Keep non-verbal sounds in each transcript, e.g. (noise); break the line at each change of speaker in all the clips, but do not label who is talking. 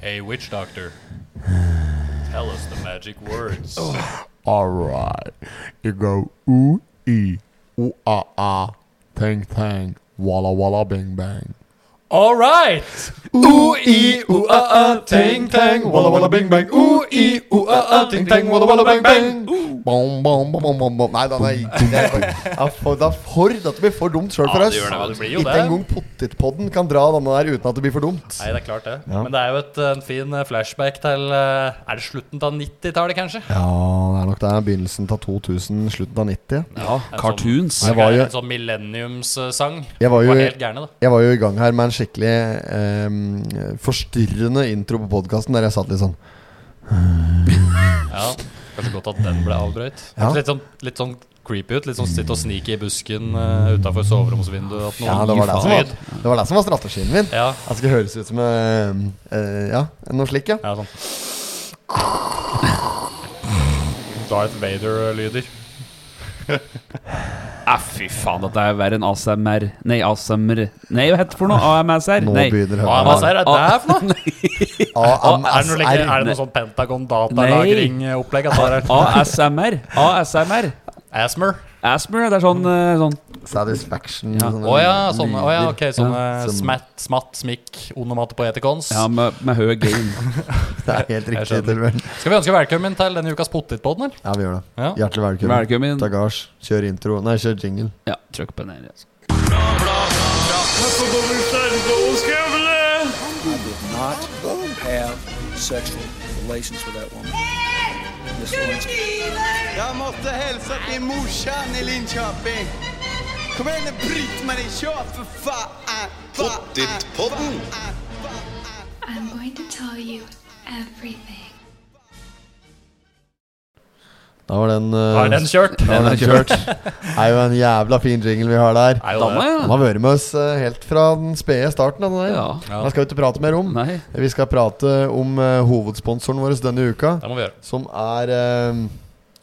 Hey,
(sighs)
witch doctor. Tell us the magic words.
Oh.
All right. You go ooh ee, ooh ah ah, tang tang, walla walla bang bang.
All right!
Ooh ee, ooh ah ah, tang tang, walla walla bang bang. Ooh ee, ooh ah ah, tang tang, walla walla bang bang. Bom, bom, bom, bom, bom, bom. Nei da, nei. Det er for, det er for, det er for dette blir for dumt sjøl
Ja,
for
det
oss.
gjør det vel. Det blir jo
Ikke
det.
engang potetpodden kan dra denne der uten at det blir for dumt.
Nei, det er klart det.
Ja.
Men det er jo et, en fin eh, flashback til eh, Er det slutten av 90-tallet, kanskje?
Ja, det er nok det. Begynnelsen av 2000, slutten av 90.
Ja,
En sånn-
cartoons.
Nei, jeg var jo-
En sånn millenniumssang.
Jeg var jo
var
i-
helt gærne, da.
Jeg var jo i gang her med en skikkelig ehm, forstyrrende intro på podkasten der jeg satt litt sånn
Ja, Kanskje godt at den ble avbrøyt.
Ja.
Litt, sånn, litt sånn creepy ut. Litt sånn sitte og snike i busken uh, utafor soveromsvinduet. At noen
Ja, det var det, som
Lyd.
var, det var det som var strategien min.
Ja.
Jeg skal høres ut som ehm, eh, Ja, noe slikt, ja.
ja, sånn Darth Vader-lyder.
Ah, fy faen, dette er verre enn ASMR. Nei, ASMR Nei, hva heter det for noe? AMSR?
Nå
Nei.
begynner
Hva er det
høna.
her? er det her for noe? Er det noe, like,
AMSR.
er det noe sånn Pentagon-datalagring-opplegg?
ASMR. ASMR.
Asmer?
Asmer, det er sånn, eh, sånn
Satisfaction. sånn
Ja.
sånne
Å ja, sånne, å, ja,
lyder.
ok, sånne
Ja, som-
smatt, smatt, smikk, onomate poetikons.
Ja, med, med høy game.
(laughs) Det er helt riktig.
skjønner.
Torbjørn.
Skal vi ønske velkommen til denne ukas potetpodden, eller?
Ja, vi gjør det.
Ja.
Hjertelig velkommen.
Velkommen.
Tagasj. Kjør intro. Nei, kjør jingle.
Ja, trykk på den her. Altså.
not have sexual relations with that woman. Miss Lewinsky.
Jeg måtte hilse til morsan i Linköping. Kom igjen, bryt meg i kjøp, for faen! Pottitpodden!
I'm going to tell you everything.
Da var den eh,
Har den kjørt?
da var den kjørt. Det er jo en jævla fin jingle vi har der.
Er jo det.
Damme,
Han
ja.
har vært med oss eh, helt fra den spede starten. Han, der.
Ja.
han skal jo ikke prate mer om.
Nei.
Vi skal prate om eh, hovedsponsoren vår denne uka,
Det må vi gjøre.
som er eh,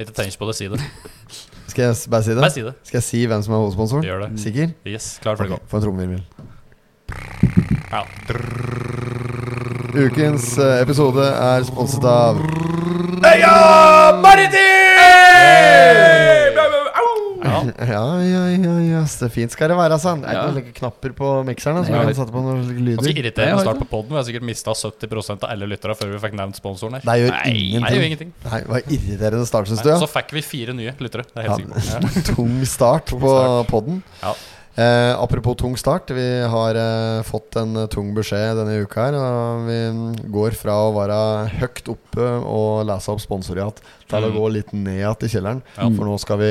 Ikke tenk på det, si det.
Skal jeg s- bare si det?
Bare si det.
Skal jeg si hvem som er hovedsponsoren?
Gjør det.
Sikker?
Yes, klar for det.
Ok, Få en trommevirvel.
Ja.
Ukens eh, episode er sponset av
Ja.
(laughs) Ja, ja, ja, ja. Så fint skal det være, altså. Det er ikke
Ja.
noen slike knapper på mikseren. Så
Nei.
vi kan sette på noen slike
Ganske
lyder.
Jeg
irriterende
har
start på podden. Vi har sikkert mista 70 av alle lyttere før vi fikk nevnt sponsoren her.
Det gjør
Nei.
ingenting.
Nei, det gjør ingenting.
Nei, det var irriterende start, syns du?
Nei,
ja?
Så fikk vi fire nye lyttere. Det er jeg helt sikker på.
Ja, (laughs) tung start på
start.
podden.
Ja.
Eh, apropos tung start, vi har eh, fått en eh, tung beskjed denne uka. her og Vi mm, går fra å være høyt oppe og lese opp sponsorer igjen, til å
Mm.
gå litt ned igjen i kjelleren.
Ja.
For nå skal vi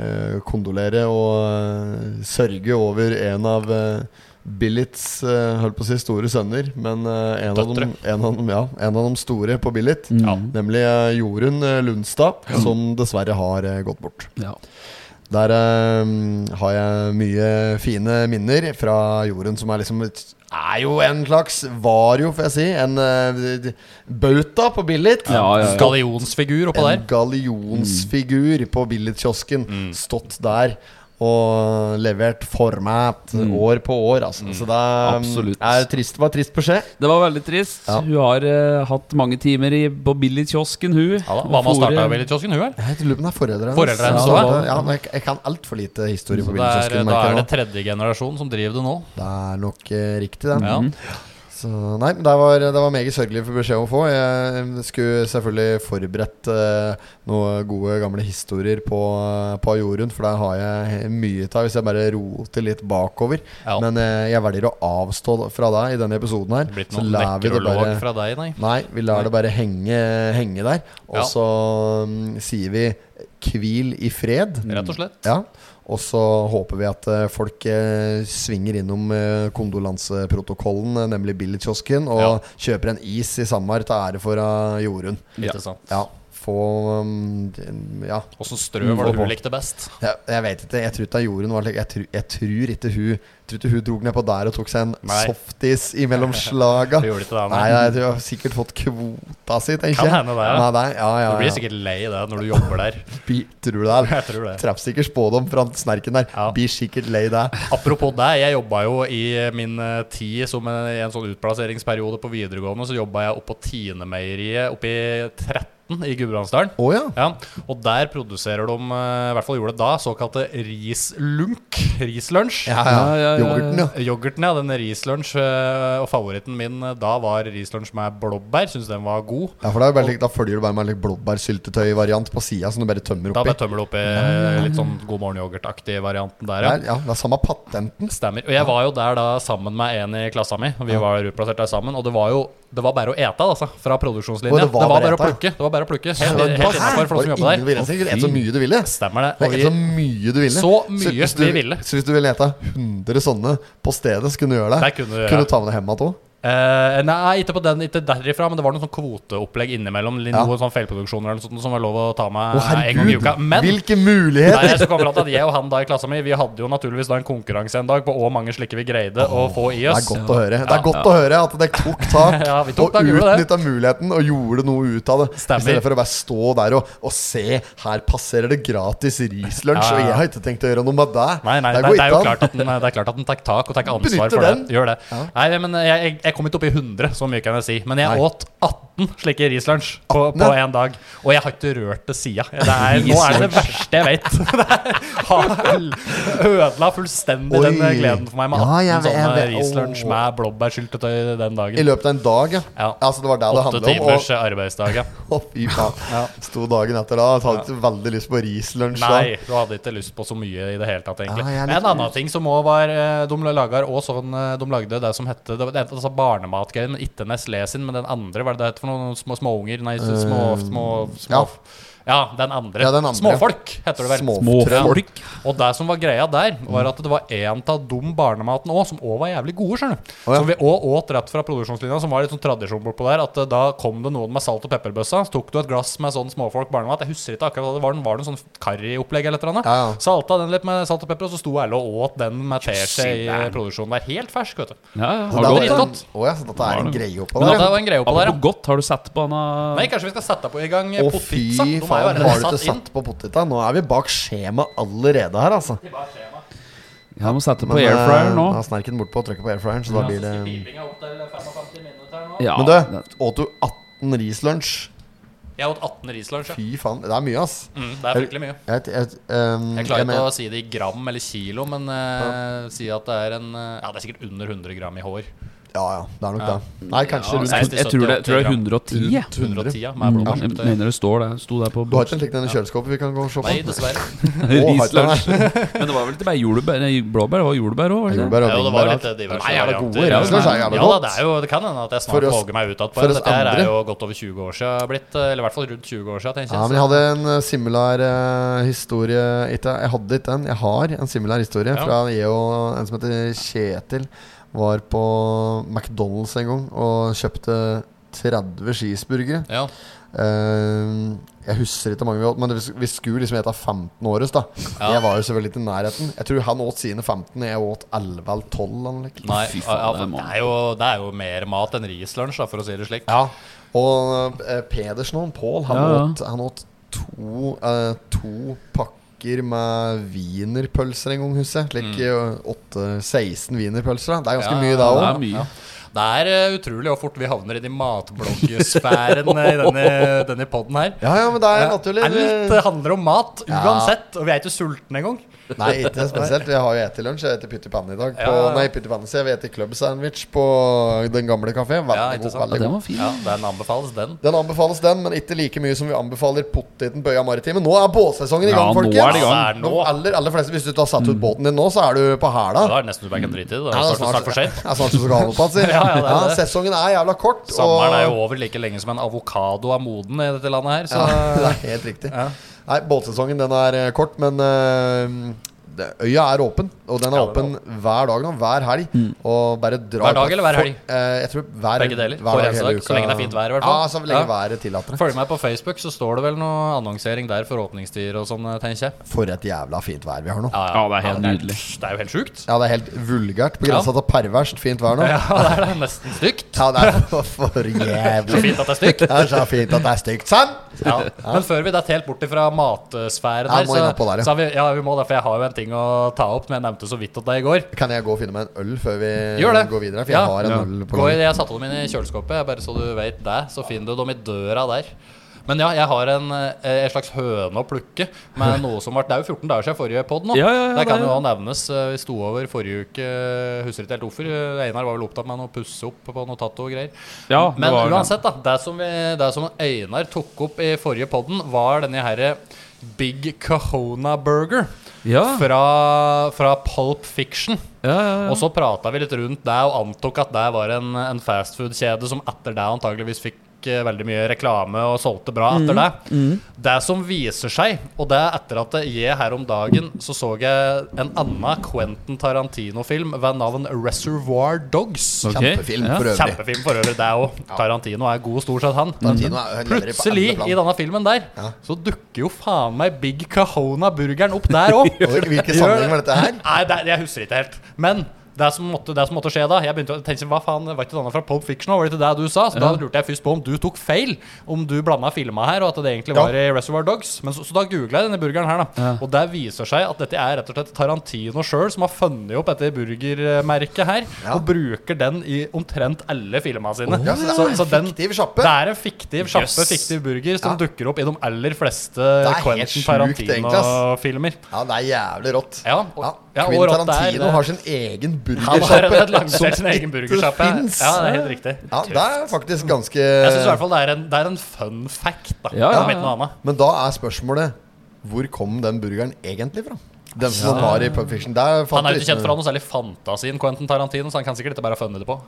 eh, kondolere og eh, sørge over en av eh, Billits eh, holdt på å si store sønner, men eh, en, av dem, en, av dem, ja, en av dem store på Billit.
Ja.
Nemlig eh, Jorunn eh, Lundstad, som dessverre har eh, gått bort.
Ja.
Der eh, har jeg mye fine minner fra Jorunn, som er liksom et- er jo en slags Var jo, får jeg si. En eh, d- bauta på Billit.
Ja, ja, ja.
Gallionsfigur oppå der.
En gallionsfigur på Billit-kiosken. Stått der og levert format år på år, altså. Så det eh,
Absolutt.
er trist, var trist beskjed.
Det var veldig trist.
Ja.
Hun har eh, hatt mange timer i, på Billy-kiosken, hun.
Ja, da. Hva med å
Fore-
eh,
starte Billigkiosken, hun, her?
Jeg lurer på om det er foreldrene hennes.
Foreldrene hennes
Ja,
også,
det- ja, men jeg, jeg kan altfor lite historie på
Det er,
Billit-kiosken.
da
merker jeg
er
nå.
det tredje generasjon som driver det nå.
Det er nok eh, riktig, det.
Mhm.
Ja.
Så, nei, men det var, det var meget sørgelig for beskjed å få. Jeg eh, skulle selvfølgelig forberedt eh, noen gode, gamle historier på, eh, på Jorunn, for der har jeg mye av hvis jeg bare roter litt bakover.
Ja.
Men eh, jeg velger å avstå fra det i denne episoden her.
Det blir ikke
så
noen
lar vi det
nekrolog
bare-
fra deg, nei.
Nei, vi lar det bare henge, henge der. Og
Ja.
så mm, sier vi 'hvil i fred'.
Rett og slett.
Ja, og så håper vi at eh, folk eh, svinger innom eh, kondolanseprotokollen, eh, nemlig Billigkiosken, og
Ja.
kjøper en is i Samar til ære for eh, Jorunn.
Ikke sant.
Ja, få um, d- Ja,
Åssen strø var det
Få på. (laughs)
hun likte best?
jeg, jeg vet ikke. Jeg tror ikke det er Jorunn var slik jeg, tru- jeg tror ikke hun Tror ikke hun dro ned på der og tok seg en
Nei.
softis imellom
(laughs)
slaga.
Du gjorde ikke det,
Nei,
nei.
jeg tror hun har sikkert fått kvota si, tenker
Kan
jeg.
hende det,
Nei,
ja.
nei, ja, ja,
Du blir
ja.
sikkert lei det når du jobber der.
Bi- Tror du det? er
Jeg tror det.
Treffsikker spådom fra snerken der.
Ja.
Blir sikkert lei deg.
Apropos det, jeg jobba jo i min eh, tid som en, i en sånn utplasseringsperiode på videregående, så jobba jeg oppå Tinemeieriet oppe i 13 i Gudbrandsdalen.
Å ja.
Ja, og der produserer de, eh, i hvert fall gjorde det da, såkalte rislunk. Rislunsj.
Ja, ja.
Ja, ja, ja, ja.
Yoghurten, ja.
Yoghurten, ja. Den rislunsj. eh, Og favoritten min eh, da var rislunsj med blåbær. Syns den var god.
Ja, for da, er det bare, litt- da følger du bare med en litt blåbærsyltetøy-variant på sida som du bare tømmer
Da bare
oppi.
tømmer du oppi eh, litt sånn God morgen yoghurt-aktig varianten der, ja.
Der, ja, det er samme patenten.
Stemmer. Og jeg var jo der da sammen med en i klassa mi. og Vi var utplassert der sammen. Og det var jo det var bare å ete, altså. Fra produksjonslinja.
Og
det, var bare å
ete, ja.
plukke. Det var bare å plukke.
Det
Helt,
var
helt innenfor for
var
de som jobber
ingen
der.
ville sikkert et så mye du ville.
Stemmer
Det
det.
er et så
Og vi,
mye du ville.
Så mye
hvis
vi
du-
ville.
Så hvis du ville leta 100 sånne på stedet, så kunne du gjøre det.
der kunne du
Kunne du
gjøre.
ta med deg hjem igjen òg?
Eh, nei, ikke på den, ikke derifra, men det var noen sånn kvoteopplegg innimellom. Litt
Ja.
Noen sånn feilproduksjoner eller noe sånt som var lov å ta med
Å,
eh, en gang i
herregud!
uka. Men
Hvilke
Nei,
muligheter!
jeg så kommer til at jeg og han da i klassa mi Vi hadde jo naturligvis da en konkurranse en dag på hvor mange slikker vi greide å få i
Det er
oss.
godt å høre Det er godt å høre at dere tok
(laughs)
tak
Ja, vi tok
og
tak, gjorde det.
utnytta muligheten og gjorde noe ut av det.
Stemmer.
I stedet for å bare stå der og, og se Her passerer det gratis rislunsj,
Ja, ja,
og
ja.
jeg har ikke tenkt å gjøre noe med det.
Nei, nei,
Det
det,
går
det, er jo
ikke an.
klart at den, det er klart at den tar tak og tar ansvar
Benytter
for det.
den.
Gjør det.
Ja.
Nei, men jeg, jeg, jeg kom ikke opp i 100, så mye kan jeg si. Men jeg
Nei.
åt 18 slike rislunsj på, på én dag. Og jeg har ikke rørt det sida. Det
(laughs)
er, nå er det det verste jeg vet. Det er- har ødela fullstendig den
Oi.
gleden for meg med
Ja,
18
jeg vet-
sånne
jeg vet.
rislunsj
Åh.
med blåbærsyltetøy den
I
dagen.
løpet av en dag, ja.
Ja.
Altså Det var det det
Åtte
handla om.
timers arbeidsdag, ja.
Og, (laughs) å, fy faen.
(laughs)
Sto dagen etter da og hadde ikke veldig lyst på rislunsj. da.
Nei, du hadde ikke lyst på så mye i det hele tatt, egentlig.
Ah, jeg er
Men
litt
en annen ting som òg var eh, De lager også sånn eh, De lagde det som hette Det var det- altså barnematgreien, men ikke Nestlé sin, men den andre, hva er det det heter for noen små småunger? Nei, så små, små, små
Eh, ja.
ja. den andre.
Ja, den andre.
Småfolk, heter det vel.
Småtrøll.
Småfolk.
Og det som var greia der, var at det var en av de barnematen òg, som òg var jævlig gode, skjønner du.
ja.
Som vi òg åt rett fra produksjonslinja, som var litt sånn tradisjon bortpå der. At eh, da kom det noen med salt og pepperbøssa, så tok du et glass med sånn småfolk barnemat. Jeg husker ikke akkurat hva det var, den var noe sånn curryopplegg eller et eller annet.
Ja, ja.
Salta den litt med salt og pepper, og så sto alle og åt den med teskje i eh, produksjonen der. Helt fersk, vet du.
Ja, ja.
Så
Har du
det
gått?
er
Godt.
en- Å ja, så dette er en greie oppå
Men
der.
at det
ja.
var en greie oppå der,
Apropos
ja.
godt, har du sett på han
Nei, kanskje vi skal sette på i gang
Å fy
potetpizza. De er jo
faen,
allerede
har du ikke
satt inn.
satt på poteta? Nå er vi bak skjema allerede her, altså.
Ja, må sette på
Men,
airfryer
eh,
nå.
Da snerker den bortpå og trykker på airfryeren, så da blir det
Pipinga opp til 55 minutter nå.
Ja.
Men du, åt du 18 rislunsj?
Jeg åt 18 rislunsj, ja.
Fy faen, det er mye, ass.
Mm, det er fryktelig mye.
Jeg, jeg, ehm,
Jeg klarer
jeg
ikke
mener-
å si det i gram eller kilo, men eh, si at det er en eh, Ja, det er sikkert under 100 gram i hår.
Ja ja, det er nok det. Nei, kanskje
Jeg,
rundt
nei,
jeg tror det, jeg tror det er 110. jeg.
110, ja.
Mm.
Med
Jeg
blåbærsyltetøy.
mener det står det. Sto der på
Du har ikke en slik den i kjøleskapet vi kan gå og se på?
Nei, dessverre.
Å, har ikke den
Rislunsj. (laughs) Men det var vel ikke bare jordbær? Nei, blåbær det var jordbær òg?
Jordbær og
Jo, det var
bringebær,
litt eh,
alt.
diverse
Nei, jævla gode
varianter.
rødsløs
er jævla
Ja, da,
godt.
det, er jo, det kan hende at jeg
For
snart
oss-
våger meg ut at
for oss
Dette her
andre.
er jo godt over 20 år siden blitt. eh, Eller i hvert fall rundt 20 år siden.
Ja, men
tenker
jeg
jeg.
hadde en eh, similar eh, historie ikke, Jeg hadde ikke den, jeg har en similar historie
Ja.
Fra jeg og en som heter Kjetil Var på McDonalds en gang Og kjøpte 30 cheeseburgere
Ja.
Eh, Jeg husker ikke hvor mange vi åt Men det, vi skulle liksom ete 15 årets da
Ja.
Jeg var jo selvfølgelig ikke i nærheten Jeg tror han åt sine 15 Jeg åt 11 eller 12 eller noe slikt.
Nei,
Fy faen,
ja,
det er
for det,
mange.
er jo, det er jo mer mat enn rislunsj, da, for å si det slik.
Ja, og eh, Pedersen og Pål, han,
Ja, ja.
åt- han åt to, eh, to pakker med wienerpølser en gang, husker jeg. Slik eh, åtte 16 wienerpølser. da. Det er ganske
Mm. Ja,
mye,
ja,
da
Det
òg.
er mye.
Det er eh, utrolig hvor fort vi havner i de matbloggesfæren eh, i denne, denne podden her.
Ja, ja, men det er
Ja,
naturlig.
Alt eh, handler om mat,
Ja.
uansett. Og vi er ikke sultne engang. (laughs)
Nei, ikke spesielt. Jeg har jo spist lunsj. Jeg spiser pytt i panne i dag. På,
Ja, ja.
Nei, pytt i panne, sier jeg. Vi spiser club sandwich på den gamle kafeen.
Ja,
Veldig
ikke sant?
god.
Ja,
Veldig
den
god.
var fin.
Ja, den anbefales, den.
Den anbefales, den, men ikke like mye som vi anbefaler potteten på Øya Maritime. Nå er båtsesongen i
Ja,
gang,
nå er
folkens!
det i Mm.
gang.
De aller, aller fleste, hvis du ikke har satt ut båten din nå, så er du på hæla.
Ja, Da er det nesten så du bare kan drite i det. Da
Ah.
er
Ja, det
det snart, snart for sent.
Det er snart du skal ha noe på den, sier.
(laughs) Ja, ja, det er det.
Sesongen er jævla kort.
Sommeren er jo over like lenge som en avokado er moden i dette
(laughs)
landet her. Så
ja, Det er helt riktig. Nei, båtsesongen den er eh, kort, men eh, det, Øya er åpen, og den er åpen hver dag nå. Hver helg. Og bare drar
Hver dag
på-
eller hver helg?
eh, jeg tror hver,
Begge deler.
Hver
Hver
dag,
eneste
hele
dag,
uka.
så lenge det er fint vær i hvert fall.
Ja, så
Ja.
lenge været tillater det.
Følg meg på Facebook, så står det vel noe annonsering der for åpningstider og sånn, eh, tenker jeg.
For et jævla fint vær vi har nå. Ja,
Ja, det er helt
det
nydelig.
Det er jo helt sjukt. (laughs)
det er helt vulgært. På grensa til perverst fint vær nå.
Ja, det er det nesten stygt.
Ja, det er for, for
(laughs)
jævlig.
Så fint at det er stygt.
Det er så fint at det er stygt, Sånn! sant?
Ja. Men før vi detter helt bort fra matsfæren
Ja,
her,
må
så,
innom på der, ja.
så har vi, ja, vi må det, for jeg har jo en ting å ta opp, men jeg nevnte så vidt at det er i går.
Kan jeg gå og finne meg en øl før vi
Gjør det.
går videre? For
Ja.
jeg har en
Ja.
øl på
Gå i
gang.
det jeg satte dem inn i kjøleskapet, jeg bare så du vet det. Så finner du dem i døra der. Men ja, jeg har en, eh, en slags høne å plukke
(laughs)
med noe som var Det er jo 14 dager siden forrige pod nå.
Ja, ja, ja,
det kan
det er-
jo da nevnes. eh, Vi sto over forrige uke, eh, husker ikke helt hvorfor. eh, Einar var vel opptatt med noe pusse opp på noe tatto og greier.
Ja, det
Men
var den.
uansett, da. Det som, vi, det som Einar tok opp i forrige podden, var denne herre Big Kahona Burger
Ja.
fra, fra Pulp Fiction.
Ja, ja,
Og så prata vi litt rundt det og antok at det var en, en fastfood-kjede som etter det antageligvis fikk eh, veldig mye reklame og solgte bra etter det. Det som viser seg, og det er etter at jeg her om dagen så så jeg en annen Quentin Tarantino-film ved navn Reservoir Dogs.
Ok.
Kjempefilm
Ja.
for øvrig.
Kjempefilm for øvrig, det òg. Tarantino er god stort sett, han.
Tarantino er- han leverer på
Plutselig,
alle plan.
i denne filmen der, så dukker jo faen meg Big Cahona-burgeren opp der
(laughs)
òg.
Og i Hvilken sammenheng var dette her?
Nei, det, jeg husker ikke helt. Men det som måtte, det som måtte skje da Jeg begynte å tenke Hva faen, var ikke denne fra Pulp Fiction? Var det ikke det du sa? Så da lurte jeg først på om du tok feil. Om du blanda filma her, og at det egentlig
Ja.
var i Reservoir Dogs. Men så, så da googla jeg denne burgeren her, da. Og det viser seg at dette er rett og slett Tarantino sjøl som har funnet opp dette burgermerket her.
Ja.
Og bruker den i omtrent alle filma sine.
Ja, så det er en fiktiv sjappe.
Det er en fiktiv sjappe,
Jøss.
fiktiv burger, som
Ja.
dukker opp i de aller fleste
helt
Quentin
sjukt, egentlig, ass.
Tarantino-filmer.
Ja, det er jævlig rått.
Ja, og- ja, og
Quentin
rått det er-
Tarantino
det- (laughs)
har sin egen
Han har
burgersjappe.
rett lansert sin egen burgersjappe.
finnes.
Ja, det er helt riktig.
Ja, det er faktisk ganske
Jeg syns i hvert fall det er en, det er en fun fact, da.
Ja, ja,
om ikke
ja.
noe annet.
Men da er spørsmålet hvor kom den burgeren egentlig fra? Den som han har i Pub Fiction. Der fant
Han er
du
jo ikke kjent
noe.
for å ha noe særlig fantasi, Quentin Tarantino, så han kan sikkert ikke bare ha funnet det på.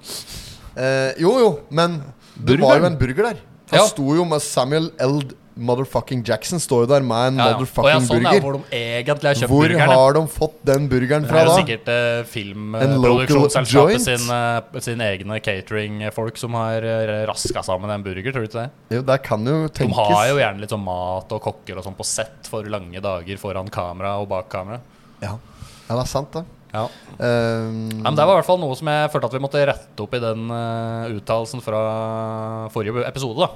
Eh, jo, jo, men det
Burgeren?
var jo en burger der. Han
Ja.
sto jo med Samuel L. Motherfucking Jackson står jo der med en
Ja, ja. Og ja,
motherfucking
sånn er
burger.
hvor de egentlig har kjøpt
Hvor
burgeren. ja.
har de fått den burgeren
Det
fra
er jo
da?
sikkert eh,
En local joint?
filmproduksjonsselskapet sin, eh, sin egne cateringfolk som har eh, raska sammen en burger, tror du ikke det?
Jo, der kan jo
De har jo
tenkes
gjerne litt sånn mat og kokker og sånn på sett for lange dager foran kamera og bak kamera.
Ja, ja det er sant, det.
Ja.
Ehm,
Ja, men Det var i hvert fall noe som jeg følte at vi måtte rette opp i den eh, uttalelsen fra forrige episode. da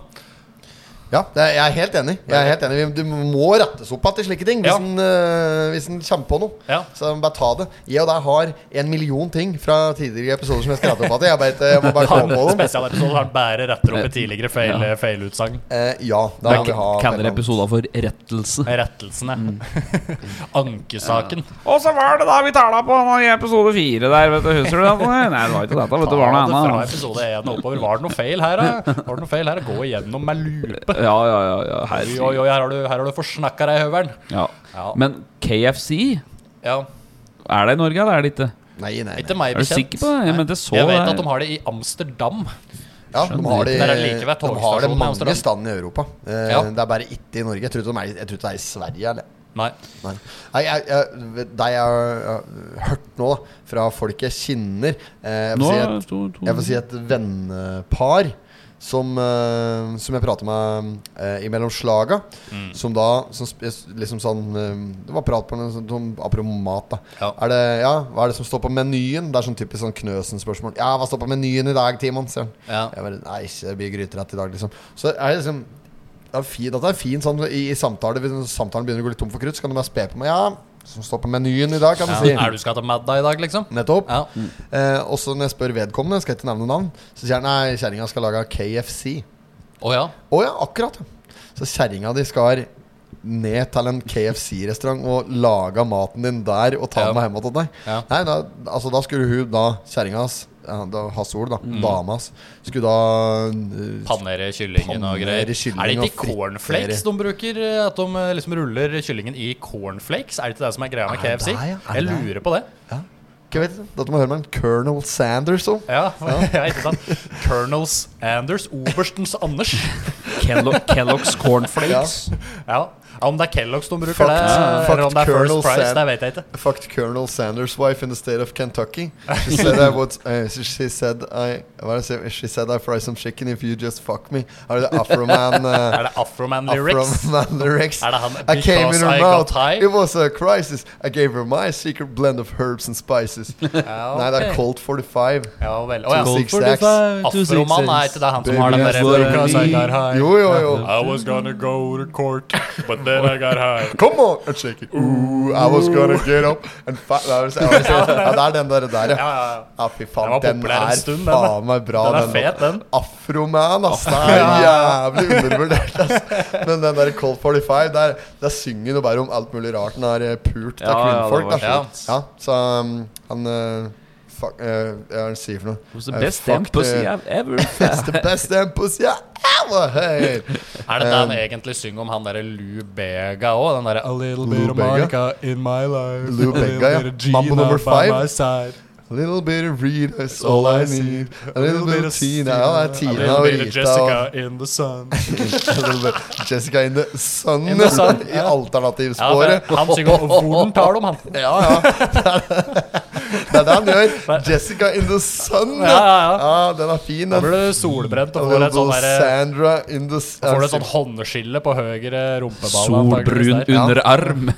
Ja, det er, jeg er helt enig. Jeg er helt enig Vi- Det må rettes opp igjen til slike ting hvis
Ja.
en øh, Hvis en kommer på noe.
(laughs) Ja.
Så bare ta det. Jeg og deg har en million ting fra tidligere episoder som jeg skal rette opp igjen. Jeg, bare ikke- jeg må bare komme på dem.
Spesialepisoden har bare retter opp i tidligere feil,
Ja.
feilutsagn.
Eh, ja, da
Det
må vi ha
er- kaller episoden for rettelse.
Rettelsene. (laughs) Ankesaken.
Og så var det da vi tala på i episode fire der, vet du. Husker du det? Nei, det var ikke dette, vet du. Var
Ja, det
noe
fra
annet.
episode 1 og oppover. Var det noe feil her, da? Var det noe feil her? Gå igjennom med lupe.
Ja, ja, ja. ja.
Oi, oi, oi,
herregud.
her har du, her har du forsnakka deg, høveren.
Ja.
Ja.
Men KFC,
Ja.
er det i Norge, eller er det ikke?
Nei, nei, nei.
Ikke meg
Er du
bekjent.
sikker på det? Jeg mente så eh,
Jeg vet
det.
at de har det i Amsterdam.
Ja, de har det,
Der er det like ved
de har det
togstasjonen i
mange
Amsterdam.
steder i Europa. Eh,
Ja.
Det er bare ikke i Norge. Jeg tror ikke de er, jeg tror ikke det er i Sverige. Eller?
Nei.
Nei. Nei, jeg, jeg, det jeg har øh, hørt nå, da, fra folk jeg kjenner eh, jeg får
Nå
si
er
at-
det to, to.
Jeg får si et vennepar som, eh, som jeg prater med eh, imellom slaga.
Mm.
Som da som, sp- liksom sånn eh, Det var prat på en sånn sånn- Apropos mat, da.
Ja.
Er det, ja, hva er det som står på menyen? Det er sånn typisk sånn Knøsen-spørsmål. Ja, hva står på menyen i dag, Timon? sier han.
Ja.
Jeg bare, Nei, ikke, det blir gryterett i dag, liksom. Så er det liksom det er fint, at det er fint sånn i, i samtale Hvis samtalen begynner å gå litt tom for krutt, så kan du bare spe på med Ja, som står på menyen i dag, kan du
Ja.
si.
Er du skal til Madda i dag, liksom?
Nettopp.
Ja.
Eh, og så når jeg spør vedkommende, skal jeg ikke nevne navn, så sier han nei, kjerringa skal lage KFC.
Å ja.
Å ja, akkurat. ja. Så kjerringa di skal ned til en KFC-restaurant og lage maten din der og ta
Ja.
den med hjem til deg.
Ja.
Nei, da, altså, da skulle hun da, kjerringa hans, ja, da, Hassol, da,
Mm.
dama hans, skulle da eh,
Panere kyllingen og greier.
Panere kyllingen
er det
og
ikke cornflakes de bruker? eh, At de eh, liksom ruller kyllingen i cornflakes? Er det ikke det som er greia med
Er det
KFC?
der, ja?
Jeg
Er det der?
lurer på det.
Ikke vet, Dette må jeg høre med en Colonel Sanders om.
Ja, ja ikke sant? Colonels Anders. Oberstens Anders.
(laughs)
Kello- Kellogg's Cornflakes.
Ja. Ja, om det er Kellogg's de bruker
Fuck-
det,
fuck
eller om det er First
Colonel
Price,
Sand.
det vet jeg ikke.
Fucked Colonel Sanders' wife in the state of Kentucky. She said I would. Uh, she, she said I. What I say? She said I fry some chicken if you just fuck me. Er det
(laughs)
Afroman?
Er
Uh,
det Afroman lyrics?
Afroman lyrics.
Er det han
I came in
Because
her
I
mouth.
got high?
It was a crisis. I gave her my secret blend of herbs
(laughs)
and spices.
Ja,
Nei, det er
ok.
Colt 45.
Ja vel. Å ja.
Cold. Six Stacks.
Afroman er ikke det han som har den derre
Baby,
that's what I
Because I
need.
got high. Ah.
Jo, jo, jo.
I was gonna go to court, but then I got high.
Come on and shake it. Ooh, I was gonna get up and fa Nei, jeg
(laughs)
vil si- ja, Det er den der, der
Ja, ja,
ja.
ja.
Ja, fy
Den
faen,
var
den,
populær en
er
stund, den, da.
faen meg bra.
Den er fet, den.
Afroman, ass. Den er jævlig undervurdert, ass. Men den der Cold 45, der, der synger han jo bare om alt mulig rart. Den er eh, pult av
Ja, ja, det
kvinnfolk.
var
da.
sjukt.
ja, så um, han eh, Fuck, eh, hva er det han sier for noe?
Who's the
Eh,
best
fuck
damn pussy
the-
I've
(laughs)
ever
It's the best damn pussy I ever had.
Er det det
Eh,
han egentlig synger om han derre Lou Bega òg? Den derre A little bit
Lou
of
Bega?
Monica in my life.
Lou
a little
Bega, ja.
bit of Gina
Mambo number
by
five.
my side.
A little bit of Reed is all I need. A little bit of Tina. Ja, det er
A
Tina
little
og
bit of
Rita.
Jessica
og-
in the sun.
(laughs) A little bit Jessica in the sun.
In the sun,
(laughs) I
Ja,
alternativsporet.
for han synger om hvordan tar de han?
(laughs) Ja, ja. Det er det han gjør. Jessica in the sun.
Ja, ja, ja.
Ja, den er fin,
Da
den.
blir du solbrent og
A
får et
little
sånn derre
Sandra in the s-
Får du et sånn håndskille på høyre rumpeball?
Solbrun
ja.
underarm.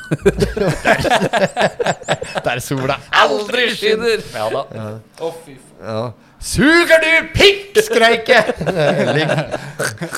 Der sola
Aldri skinner!
Ja da.
ja. Suger du pikk, skreik jeg!
(laughs)
Elling.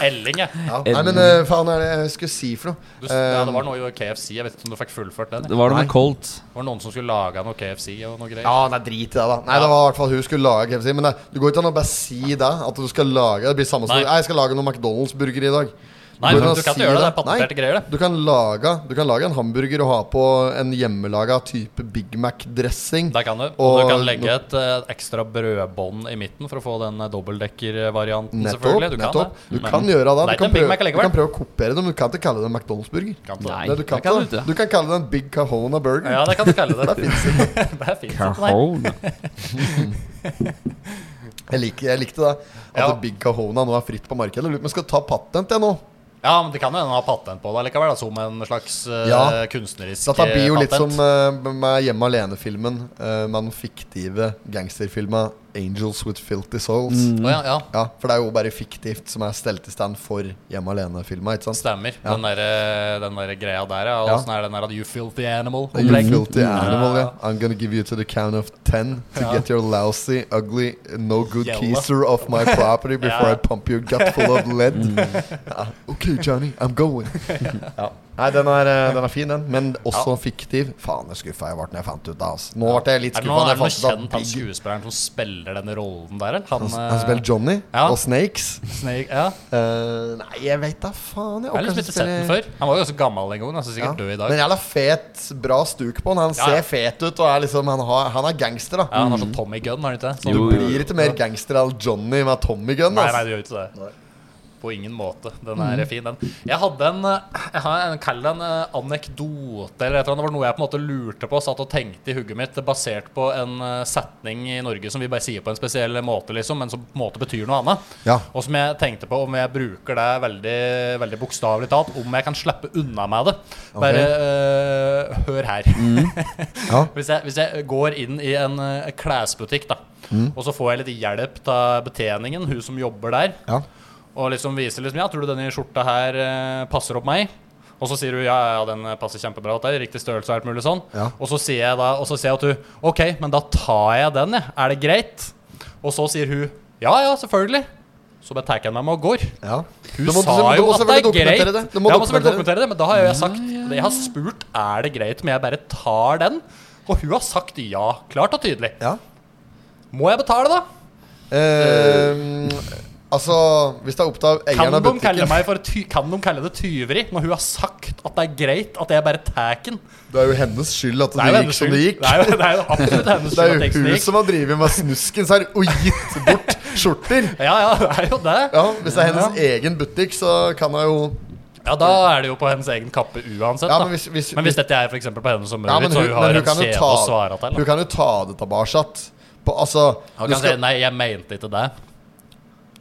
Elling, jeg.
Ja. Nei, men eh, faen, er det jeg skulle si for noe?
Du, ja, det var noe i KFC. Jeg vet ikke om du fikk fullført den.
(laughs) Det var det med Colt.
Det var noen som skulle lage noe KFC og noe greier.
Eh, Ja, det er drit i det, da. Nei, det var i hvert fall hun skulle lage KFC. Men eh, det, du går ikke an å bare si det. At du skal lage Det blir samme som
Nei.
Nei, jeg skal lage noen McDonald's-burger i dag.
Nei,
går
men
an
du
å
kan
si
ikke gjøre det. Det er patenterte
Nei,
greier, det.
Du kan, lage, du kan lage en hamburger og ha på en hjemmelaga type Big Mac-dressing.
Der kan du. Og,
Og-
du kan legge et eh, ekstra brødbånd i midten for å få den eh, dobbeltdekker-varianten,
Nettopp.
selvfølgelig. Du kan
nettopp.
det.
Du
Men-
kan gjøre det.
Det er
Du
ikke en Big
kan, prøve,
Mac
du
allikevel.
kan prøve å kopiere det, men du kan ikke kalle det en McDonald's-burger.
Kan ikke det.
Nei,
Nei, du kan
det kan du
ikke det.
ikke.
Du kan kalle det en Big Cajona Burger.
Ja, det kan du kalle det.
(laughs) Det finnes ikke.
(laughs) det fins ikke, nei.
Cajon.
Jeg, liker, jeg likte det. At
Ja.
Big Cajona nå er fritt på markedet. Jeg lurer på om jeg skal ta patent, jeg nå.
Ja, men det kan jo hende han har patent på det likevel, da, som en slags eh,
Ja.
kunstnerisk
Dette blir jo
eh,
litt som
patent.
eh, med Hjemme alene-filmen. eh, med den fiktive gangsterfilma 'Angels With Filty Souls'.
Å, ja, ja.
Ja, For det er jo bare fiktivt som er stelt i stand for Hjemme alene-filma. ikke sant?
Stemmer.
Ja.
Den, der, eh, den der greia der, ja.
Ja.
Åssen er den der at You filthy animal?
You
opplegg?
filthy animal,
Ja, ja.
ja. I'm gonna give you to the count of ten to get your lousy, ugly, no good
Jævla.
keiser off my
(laughs)
property before
Ja.
I pump your gut
(laughs)
full of lead.
Mm.
Ja, ok, Johnny, I'm going. ja. Nei, den er, eh, den er fin, den, men også fiktiv. Faen, jeg skuffa jeg ble når jeg fant ut det. Altså. Nå ble jeg litt
Er det
skuffa.
noe, er det noe
Han,
kjent han skuespilleren som spiller den rollen der, eller? Han, eh,
han spiller Johnny
Ja.
og Snakes.
Snake, ja.
Eh, nei, jeg veit da faen. Jeg
Jeg har
orker
liksom
ikke
ikke sett den
spille-
før. Han var jo ganske gammel en gang. Han er sikkert død i dag.
Men jævla fet, bra stuk på han. Han
Ja, ja.
ser fet ut, og er liksom, han, har, han er gangster, da.
Ja, han har sånn Tommy Gunn, har han ikke det? Sånn-
Jo,
Det blir ikke mer gangster enn Johnny med altså. Tommy Gunn.
Nei, nei,
ass.
du gjør ikke det. På ingen måte. Den er
Mm.
fin, den. Jeg hadde en eh, Jeg har en, kall det en eh, anekdote, eller et eller annet. Det var noe jeg på en måte lurte på, satt og tenkte i hugget mitt, basert på en eh, setning i Norge som vi bare sier på en spesiell måte, liksom, men som på en måte betyr noe annet.
Ja.
Og som jeg tenkte på om jeg bruker det veldig, veldig bokstavelig talt, om jeg kan slippe unna med det. Bare eh, hør her.
Ja.
hvis, jeg, hvis jeg går inn i en eh, klesbutikk, da, og så får jeg litt hjelp av betjeningen, hun som jobber der,
Ja.
og liksom viser liksom Ja, tror du denne skjorta her eh, passer opp meg? Og så sier du ja, ja, den passer kjempebra til deg. Riktig størrelse og alt mulig sånn.
Ja.
Og så sier jeg da Og så sier jeg at hun OK, men da tar jeg den, jeg. Er det greit? Og så sier hun ja, ja, selvfølgelig. Så bare tar jeg meg med og går.
Ja.
Hun
Du
sa
må- du må- du
jo
må
at det
selvfølgelig
er greit.
dokumentere det. Du må
Ja, må selvfølgelig
dokumentere det.
dokumentere det, men da har jo jeg sagt Jeg har spurt er det greit om jeg bare tar den, og hun har sagt ja, klart og tydelig.
Ja.
Må jeg betale, da?
Ehm, altså, hvis det er opptatt av eieren
Kan
av
de, kalle
butikken
meg for ty kan de kalle det tyveri når hun har sagt at det er greit at jeg bare tar den?
Det er jo hennes skyld at det, gikk
hennes
som det
skyld.
gikk.
Det er jo, det er jo
(laughs)
absolutt hennes skyld
Det er
at
jo
teksten
hun
gikk.
som har drevet med snusken her og gitt bort skjorter.
Ja, ja, det er jo det.
Ja, Hvis det er hennes egen butikk, så kan hun jo
Ja, da er det jo på hennes egen kappe uansett.
Ja,
da.
men hvis- hvis-
men hvis dette er for eksempel på hennes
Ja,
område,
men
så hun har en
kan jo
kjede å svare
ta,
til. da.
hun kan jo ta det tilbake. På, altså
Han
du
kan si
skal-
nei, jeg mente ikke det.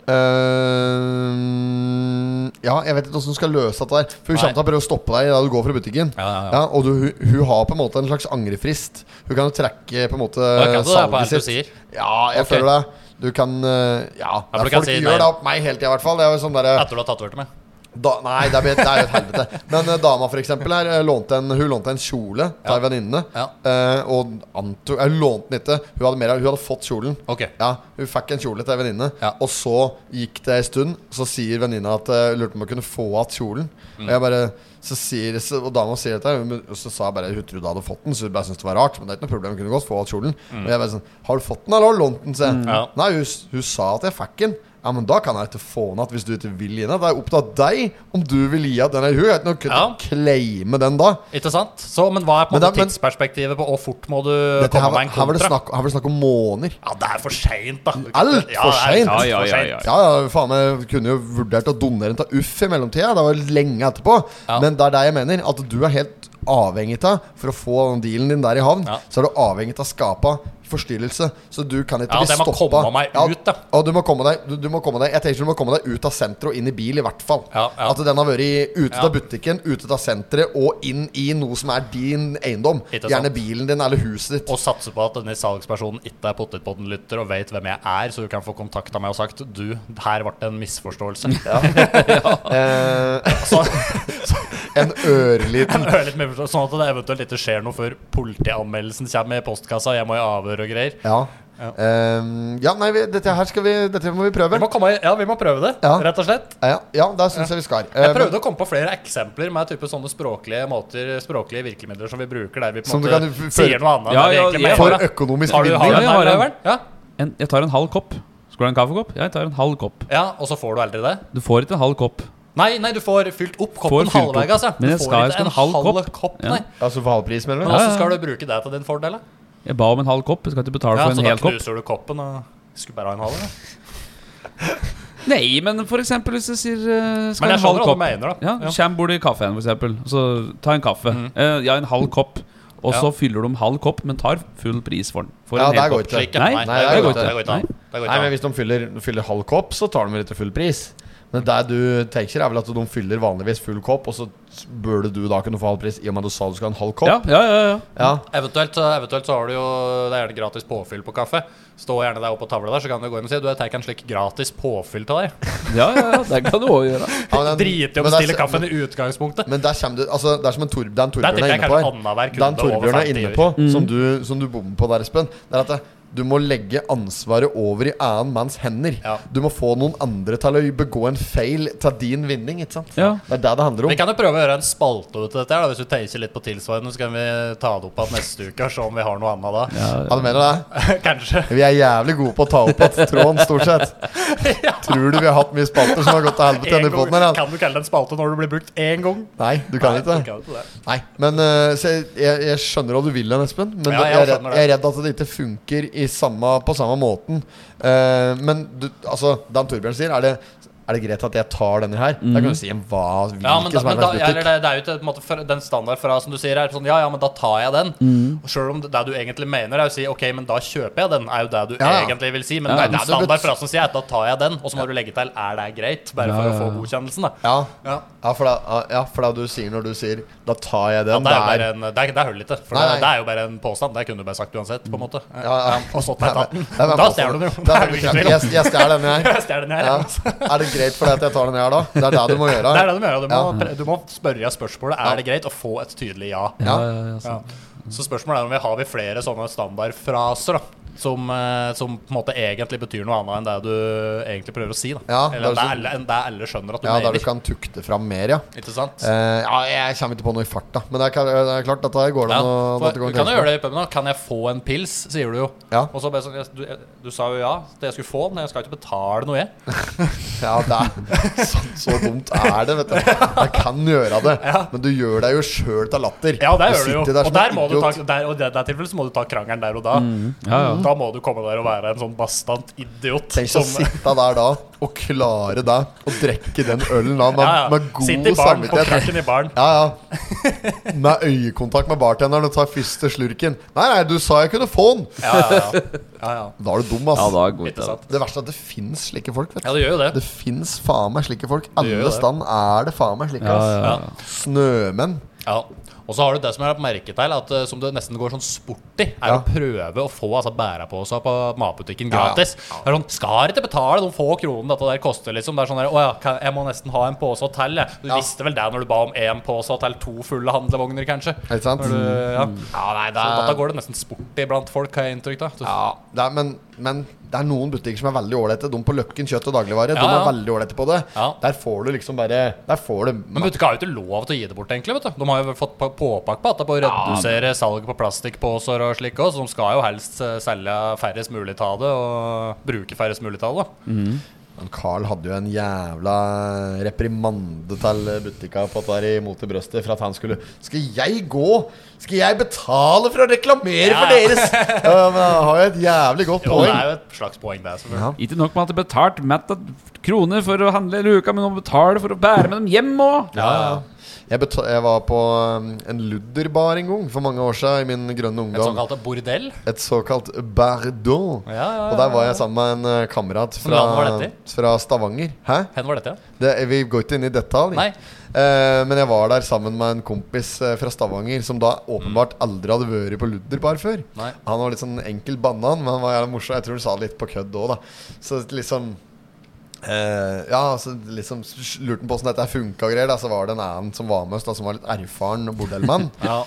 Ehm, ehm, Eh, Ja, jeg vet ikke hvordan du skal løse dette der. For
Nei.
hun kommer til å prøve å stoppe deg da du går fra butikken.
Ja, ja, ja.
og du, hun, hun har på en måte en slags angrefrist. Hun kan jo trekke på en måte
Da kan du det på alt du
salget sitt.
sier.
Ja, jeg
Ok.
føler det. Du kan eh,
Ja,
Ja, det
for
er
du kan
folk
si nei.
gjør det opp meg hele tida, i hvert fall. Det er jo sånn derre
Etter du har tatovert meg.
da, nei, det er bet- det er jo et helvete. Men eh, dama, for eksempel, her, eh, lånte en, hun lånte en kjole av en venninne.
Ja.
eh, og anto, eh, lånte den ikke. Hun hadde, mer, av- hun hadde fått kjolen.
Ok.
Ja, Hun fikk en kjole til ei venninne,
Ja.
og så gikk det ei stund. Så sier venninna at eh, lurte på om hun kunne få igjen kjolen. Og jeg bare så sier, så, Og dama sier dette, hun- og så sa jeg bare hun trodde hun hadde fått den. Så hun bare syntes det var rart, men det er ikke noe problem. Hun kunne godt få igjen kjolen. Og jeg bare sånn Har du fått den, eller har du lånt den? sier jeg.
Mm. Ja.
Nei, hun, s- hun sa at jeg fikk den. Ja, men da kan jeg ikke få den igjen hvis du ikke vil gi den. Det er opp til deg om du vil gi igjen den. eller Hun er ikke noe kødd å
Ja.
claime den da.
Ikke sant? Så, men hva er på en
Men da-
måte
men-
tidsperspektivet på hvor fort må du
Dette her
komme
var,
med en
her, var det
kontra?
snakk, her var det snakk om måneder.
Ja, det er for seint, da. Du kan
Alt
ikke- ja,
for
det er
sent.
alt
Ja, ja,
for
ja,
sent.
ja.
Ja, ja, faen meg kunne jo vurdert å donere den til UFF i mellomtida. Det var lenge etterpå.
Ja.
Men det er det jeg mener. At du er helt avhengig av For å få den dealen din der i havn,
Ja.
så er du avhengig av skapa forstyrrelse. Så du kan ikke
Ja,
bli
at jeg må
stoppa.
komme meg ut, da.
Ja, du må komme deg, du, du må komme deg Jeg tenker du må komme deg ut av senteret og inn i bil, i hvert fall.
Ja, ja.
At den har vært i- ute
Ja.
av butikken, ute av senteret og inn i noe som er din eiendom.
Ikke
Gjerne
sant.
bilen din eller huset ditt.
Og satse på at denne salgspersonen ikke er potetpodden-lytter og vet hvem jeg er, så du kan få kontakta meg og sagt Du, her ble det en misforståelse. (laughs)
Eh, (laughs)
Så,
en ørliten
hører litt misforståelse, sånn at det eventuelt ikke skjer noe før politianmeldelsen kommer i postkassa, jeg må i avhør og greier.
Ja. Ehm, ja, nei, vi, dette her skal vi Dette må vi prøve.
Vi må, komme, ja, vi må prøve det,
Ja.
rett og slett.
Ja, ja, der syns jeg vi skal. Ehm,
Jeg prøvde å komme på flere eksempler med type sånne språklige måter Språklige virkemidler som vi bruker der vi på en
Som du
måte
kan f-
sier noe annet.
Ja,
enn vi
ja,
egentlig
jeg
mener,
får
da.
For økonomisk
Har du, har du
vinning.
den
Ja, jeg har
der,
en.
Øyvind? Ja.
En, jeg tar en halv kopp. Skal du ha en kaffekopp? Ja, jeg tar en halv kopp.
ja, og så får du aldri det?
Du får ikke en halv kopp.
Nei, nei, du får fylt opp
Får
koppen
fylt opp.
halvveis. Altså.
Men jeg
du får
skal- jeg
ikke
skal
en
ha en halv
halv
kopp.
kopp,
Ja.
nei.
Altså for halv pris, mener
Men
du?
Ja,
også
ja.
skal du bruke det til din fordel, da.
Jeg ba om en halv kopp, jeg skal ikke betale
Ja,
for
så
en
da
hel kopp.
knuser du koppen og skulle bare ha en halv. da.
Nei, men for eksempel hvis jeg sier eh, skal
Men
ha
jeg
en halv
skjønner hva du
kopp.
mener, da.
Ja,
Ja. Mm.
Kjem bort i kaffen, for eksempel. og Så ta en kaffe. Eh, ja, en halv kopp. Og så fyller du om halv kopp, men tar full pris for den. For
Ja,
en hel
der går
kopp.
ikke.
Slik, ja.
Nei,
Nei,
nei,
det
det
går
går
ikke.
ikke.
Det går ikke an. Det går
Nei, men
ikke an.
Hvis de fyller, fyller halv kopp, så tar de vel ikke full pris. Men det du tenker, er vel at de fyller vanligvis full kopp, og så burde du da kunne få halv pris i og med at du sa du skulle ha en halv
Ja,
kopp.
ja, ja, ja.
Ja.
Eventuelt, eventuelt så har du jo Det er gjerne gratis påfyll på kaffe. Stå gjerne der oppe på tavla der, så kan du gå inn og si Du, jeg tar en slik gratis påfyll til deg.
ja, ja, ja det kan du òg
(laughs)
gjøre.
Ja,
(laughs)
men den-
Drit i å
men der-
bestille kaffen i utgangspunktet.
Men der kommer du Altså, det er som en Tor, den
Der tenker
Torbjørn er
jeg
inne på
kanskje
her.
annenhver
Den
kunde over
Torbjørn er
50 år.
inne på, som du, som du bommer på der, Espen, det er at det, du må legge ansvaret over i annen manns hender.
Ja.
Du må få noen andre til å begå en feil til din vinning, ikke sant?
Ja.
Det er det det handler
Vi
om.
kan jo prøve å gjøre en spalte ut av dette. her da Hvis du tenker litt på tilsvarende, så kan vi ta det opp igjen neste uke og se om vi har noe annet da.
Ja, du mener
(laughs)
det?
Kanskje.
Vi er jævlig gode på å ta opp igjen tråden,
(laughs)
stort sett. Tror du vi har hatt mye spalter som har gått til helvete
En
denne
gang,
poden her? ja?
kan du kalle det en spalte når det blir brukt én gang?
Nei, du kan ikke
du
det.
kan ikke det.
Nei, men eh, så jeg, jeg, jeg skjønner hva du vil hen, Espen. Men
Ja,
jeg,
jeg
er redd,
skjønner det.
jeg er redd at det ikke funker i samme, på samme måten. Eh, men du, altså, Dan Torbjørn sier, er det, er det greit at jeg tar denne her? Da kan du si en hva hvilken
Ja, men, da,
som
men
er
da, eller
best butikk.
det, det er jo ikke på en måte for- den standard fra som du sier her. Sånn, ja, ja, men da tar jeg den.
Mm.
Og Selv om det, det du egentlig mener, er å si ok, men da kjøper jeg den. Er jo det du
Ja, ja.
egentlig vil si. Men
Ja,
det er
ja.
den standard fra som sier at da tar jeg den. Og så må du legge til er det greit, bare for
Ja,
å
ja,
få
ja.
godkjennelsen. da
Ja,
Ja.
ja, for da, ja, for da du sier når du sier 'da tar jeg
Ja,
den',
det er jo
det
bare
er
en, det er, det er hull i det. For
Nei,
det,
nei.
det er jo bare en påstand. Det kunne du bare sagt uansett, på en måte.
Ja, ja.
Og så tar jeg tatt den.
Det er
(laughs)
bare
Da
påstand.
stjeler du den jo.
Det
Det er
er
jo
bare
ikke
bekremt.
tvil om.
Jeg, jeg stjeler denne her.
Jeg stjeler den her.
Ja.
altså.
Er det greit for deg at jeg tar den her, da? Det er det du må gjøre.
Det er det du må gjøre. Du må,
Ja.
pre- du må spørre spørsmålet Er det greit, og få et tydelig ja.
Ja,
Ja.
ja, ja,
Ja.
sant.
Så spørsmålet er om vi har vi flere sånne standardfraser da, som, eh, som på en måte egentlig betyr noe annet enn det du egentlig prøver å si. Da.
Ja,
Eller
det er sånn-
det alle, enn det alle skjønner at du
Ja, der
mener.
du kan tukte fram mer, ja.
Ikke sant?
Eh, ja, jeg kommer ikke på noe i farta, men det er, klar- det er klart, dette her går det
Ja,
an å
for,
dette
du
går
kan
an å
jo
tenke på.
gjøre det i puben. da. Kan jeg få en pils, sier du jo.
Ja.
Og så bare sånn jeg- du, jeg- du sa jo ja til jeg skulle få den, jeg skal ikke betale noe, jeg.
Ja, det er, (laughs) så, så dumt er det, vet du. Jeg kan gjøre det, men du gjør deg jo sjøl til latter.
Ja, der gjør du jo.
sitter der
Og
som en
der må du ta,
idiot. Mm.
der, og i det der tilfellet så må du ta krangelen der og da.
Ja, ja.
Da må du komme der og være en sånn bastant idiot.
Tenk å
Som,
sitte der da og klare det, og drikke den ølen da med,
ja, ja.
med god
Sitt i baren, på
samvittighet.
krakken i baren.
Ja, ja. Med øyekontakt med bartenderen og tar første slurken. Nei, nei, du sa jeg kunne få den!
Ja, ja, ja. ja, ja.
Da er du dum, ass.
Ja, da er god
Ikke sant?
det verste er at det fins slike folk. vet du
Ja, det gjør jo det.
Det fins faen meg slike folk.
gjør
Alle
det.
stand er det faen meg slike.
Ja,
ass.
ja.
Ja.
Snømenn.
Ja. Og så har du det som jeg har lagt merke til, at eh, som det nesten går sånn sport i, er
Ja.
å prøve å få altså, bæreposer på matbutikken
Ja, ja.
gratis. Det er sånn, Skal ikke betale noen få kronene dette der koster, liksom. Det er sånn der, Å ja, kan- jeg må nesten ha en pose til, jeg. Du
Ja.
visste vel det når du ba om én pose til to fulle handlevogner, kanskje?
Er det sant?
Når du, ja. ja, nei, det er... Så
er-
da går det nesten sport i blant folk, har jeg inntrykk av.
Ja, det er, men, men det er noen butikker som er veldig ålreite. De på Løkken kjøtt og dagligvare. De
Ja, ja.
er veldig ålreite på det.
Ja.
Der får du liksom bare Der får du
Men butikker har jo ikke lov til å gi det bort, egentlig. vet du De har jo fått på- påpakk på at det er på å redusere salget på plastikkposer og slik også, så de skal jo helst eh, selge færrest mulig av det, og bruke færrest mulig av det. da.
Men Carl hadde jo en jævla reprimande til butikka på at det er imot i brøstet for at han skulle Skal jeg gå? Skal jeg betale for å reklamere
Ja,
for
ja.
deres?
(laughs)
ja, men han har jo et jævlig godt
Jo, det
poeng.
er jo et slags poeng, det. selvfølgelig
Ikke nok med at de betalte Matt at kroner for å handle i luka, men de betaler for å bære med dem hjem òg!
Ja, ja. Eh, Jeg, beta- jeg var på um, en ludderbar en gang for mange år siden i min grønne
Et
ungdom.
såkalt bordell.
Et såkalt bardon.
Ja, ja, ja,
Og der var jeg sammen med en eh, kamerat fra,
land var dette
fra Stavanger. Hæ?
Hen var dette, ja?
Det, vi går ikke inn i detalj.
Nei.
Eh, men jeg var der sammen med en kompis eh, fra Stavanger som da åpenbart aldri hadde vært på Ludderbar før.
Nei.
Han var litt sånn enkel banan, men han var jævla morsom. Jeg tror han sa det litt på kødd òg, da. Så liksom eh, Ja, så liksom s- lurte han på åssen dette funka og greier. Da. Så var det en annen som var med oss, da, som var litt erfaren
(laughs)
bordellmann.
Ja.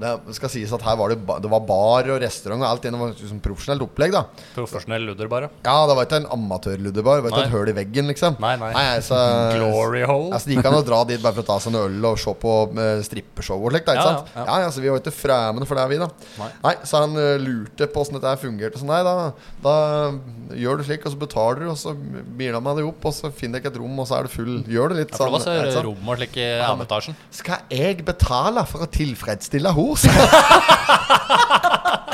det skal sies at her var det, ba det var bar og restaurant og alt innom. Liksom profesjonelt opplegg, da.
Profesjonell ludder, bare.
Ja, det var ikke en amatørludderbar. Det var ikke
Nei.
et høl i veggen, liksom.
Nei, nei.
så,
Glory hole.
Altså, det gikk an å dra dit bare for å ta seg en øl og se på eh, strippeshow og slikt. da, Ikke
Ja,
sant?
ja,
Ja,
ja.
ja. så vi var ikke fremmede for det, vi, da.
Nei.
Nei. så han eh, lurte på åssen dette her fungerte. og sånn, nei, da, da gjør du slik, og så betaler du, og så biler meg det opp, og så finner jeg ikke et rom, og så er det full. Gjør det litt
Ja, for det var
ja, ikke
så
sant?
rom og slik i anetasjen.
Skal jeg betale for å tilfredsstille henne? (laughs)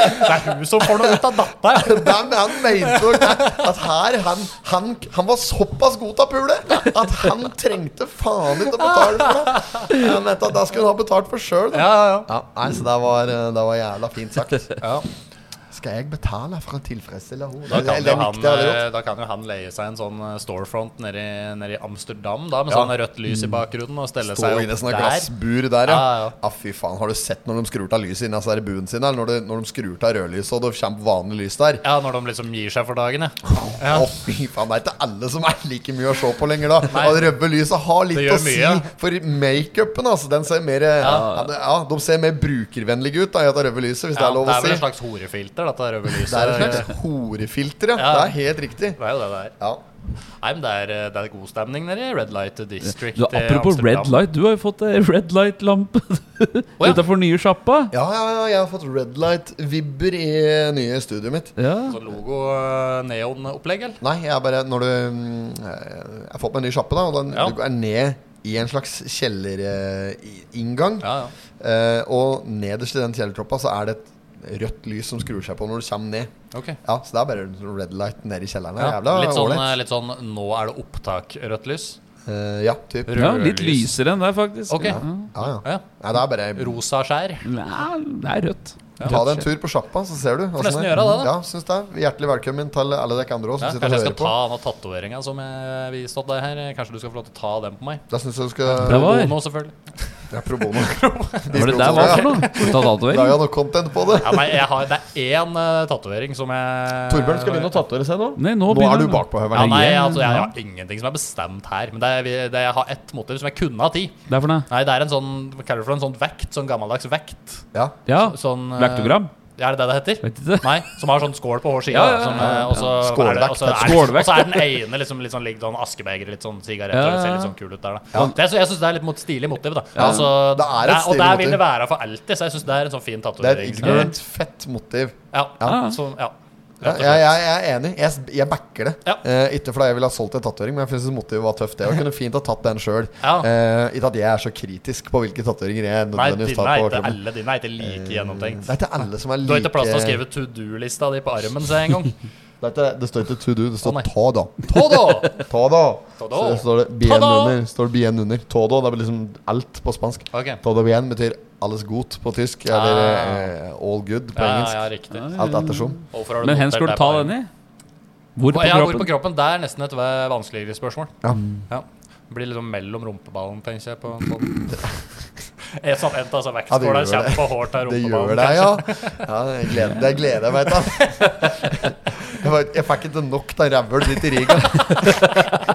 Det er hun som får noe ut av datta! (laughs) ja.
Den han mente nok det, at her han, han, han var såpass god til å pule at han trengte faen ikke å betale for det. Han mente at det skulle han ha betalt for sjøl.
Ja, ja, ja.
Ja, nei, så det var, eh, det var jævla fint sagt.
(laughs) Ja.
Skal jeg betale for å tilfredsstille henne?
Da kan,
det
jo
er
han,
viktig, det er det godt.
eh, da kan jo han leie seg en sånn eh, storefront nede i, nede i Amsterdam da, med
Ja.
sånn rødt lys i bakgrunnen og stelle
Stå
seg
inne i sånn
opp
sånne
der.
glassbur der, ja.
Ja, ja,
ja.
ja.
fy faen, Har du sett når de skrur av lyset inni altså, buen sin? Eller når de, når de skrur av rødlyset, og det kommer vanlig lys der?
Ja, når de liksom gir seg for dagen,
(laughs)
ja.
Å, fy faen, Det er ikke alle som er like mye å se på lenger, da. Og det røde lyset har litt
Det gjør
å si
mye.
for makeupen. Altså, den ser mer ja. det- ja, De ser mer brukervennlige ut da, i dette røde lyset, hvis det
ja
er lov
det
å
er vel
si.
et slags horefilter, dette røde lyset.
Det er et slags horefilter, ja.
Ja.
Det er helt riktig.
Det er jo det det er.
Ja.
Nei, men det er, eh, det er god stemning nede i Red Light District.
Du,
i
apropos
Amsterdam.
red light, du har jo fått ei red light-lampe
Å, ja.
utafor nye sjappa.
Ja, ja, ja, jeg har fått red light-vibber i nye studioet mitt.
Ja.
Sånn logo-neon-opplegg, eller?
Nei, jeg er bare Når du mm, Jeg har fått meg en ny sjappe, da, og den
Ja.
du er ned i en slags kjellerinngang.
Ja, ja.
Eh, og nederst i den kjellertroppa så er det et rødt lys som skrur seg på når du kommer ned.
Ok.
Ja, Så det er bare sånn red light nede i kjelleren.
Ja,
Jævla
litt, sånn,
ålreit.
eh, litt sånn nå er det opptak, rødt lys.
Eh, ja, typ. Ja,
ja, litt lysere enn det, faktisk.
Ok.
Ja.
ja.
Ja.
Nei, det er bare
Rosa skjær.
Nei, det er rødt.
Ta deg en tur på sjappa, så ser du. Får
nesten gjøre det, da.
Ja, syns det. Hjertelig velkommen til alle dere andre også
Ja,
som
kanskje
sitter
jeg
og
skal
hører
ta
på.
den tatoveringa som jeg viste opp deg her. Kanskje du skal få lov til å ta den på meg.
Da syns jeg du skal
Bra. var-
Bono, selvfølgelig.
Ja, pro bono.
Hva var det der var for noe? Skal du ta tatovering?
Laga noe content på det.
Ja, nei, jeg har, det er én uh, tatovering som jeg
Torbjørn skal begynne å tatovere seg nå.
Nei, nå,
Nå er
begynner
du bakpå,
Ja,
Høveren.
nei, altså, jeg har ingenting som er bestemt her. Men det er, det, jeg har ett motiv som jeg kunne hatt i.
Det er for noe.
Nei, det er en sånn hva kaller du det for en sånn vekt. Sånn gammeldags vekt.
Ja.
Ja.
Sånn, eh,
Vektogram?
Ja, er det det det heter?
Vet ikke.
Nei, som har sånn skål på hver side.
Ja, ja, ja.
som, eh, og så er det-
Skålvekt.
Og så er, og
Skålvekt.
så er den ene liksom, litt sånn, ligger sånn askebeger, litt sånn sigarett,
Ja,
og det ser
ja,
litt
ja.
sånn kul ut der, da. Det, er så- jeg syns det er litt mot, stilig motiv, da. Altså,
Det er et
og
stilig
der vil det være for alltid, så jeg syns det er en sånn fin
Det er
tatovering.
et ignorant, fett motiv.
Ja,
Ja.
Så, ja.
Ja, jeg, jeg, jeg er enig. Jeg, jeg backer det.
Ja.
Eh, ikke fordi jeg ville ha solgt en tatovering, men jeg syns motivet var tøft. Det Jeg
(laughs)
kunne fint ha tatt den sjøl.
Ja.
Eh, ikke at jeg er så kritisk på hvilke tatoveringer
Nei,
jeg
de,
nødvendigvis tar
nei,
på
det er
overkroppen.
alle dine er ikke like gjennomtenkt.
Eh, Det er ikke alle som er
Du
like
har ikke plass til å skrive to do-lista di på armen, ser jeg
(laughs)
engang.
Det, er ikke- det står ikke to do, det står
Å, nei.
ta da.
Todo!
Ta da!
Todo.
Så står det bien
Ta da!
under. Står det bien under. Todo, det er liksom alt på spansk.
Ok.
Todo bien betyr alles godt på tysk, eller eh, all good på
Ja,
engelsk.
ja, riktig.
Alt ettersom.
Hvorfor har
Men hen
notert
skulle
det
du ta
på armen?
den i? Hvor på
Ja, hvor på
kroppen?
kroppen? Det er nesten et ve- vanskeligere spørsmål.
Ja.
Ja. Det blir liksom mellom rumpeballen, tenker jeg. På, på. (laughs) En sånn en av
Ja, det
vektskåla
gjør
kommer
det.
på håret av
Det gjør
rumpeballen.
det, ja. ja jeg gleder, det gleder jeg meg til. Jeg, var- jeg fikk ikke nok av rævhøl ditt i Riga.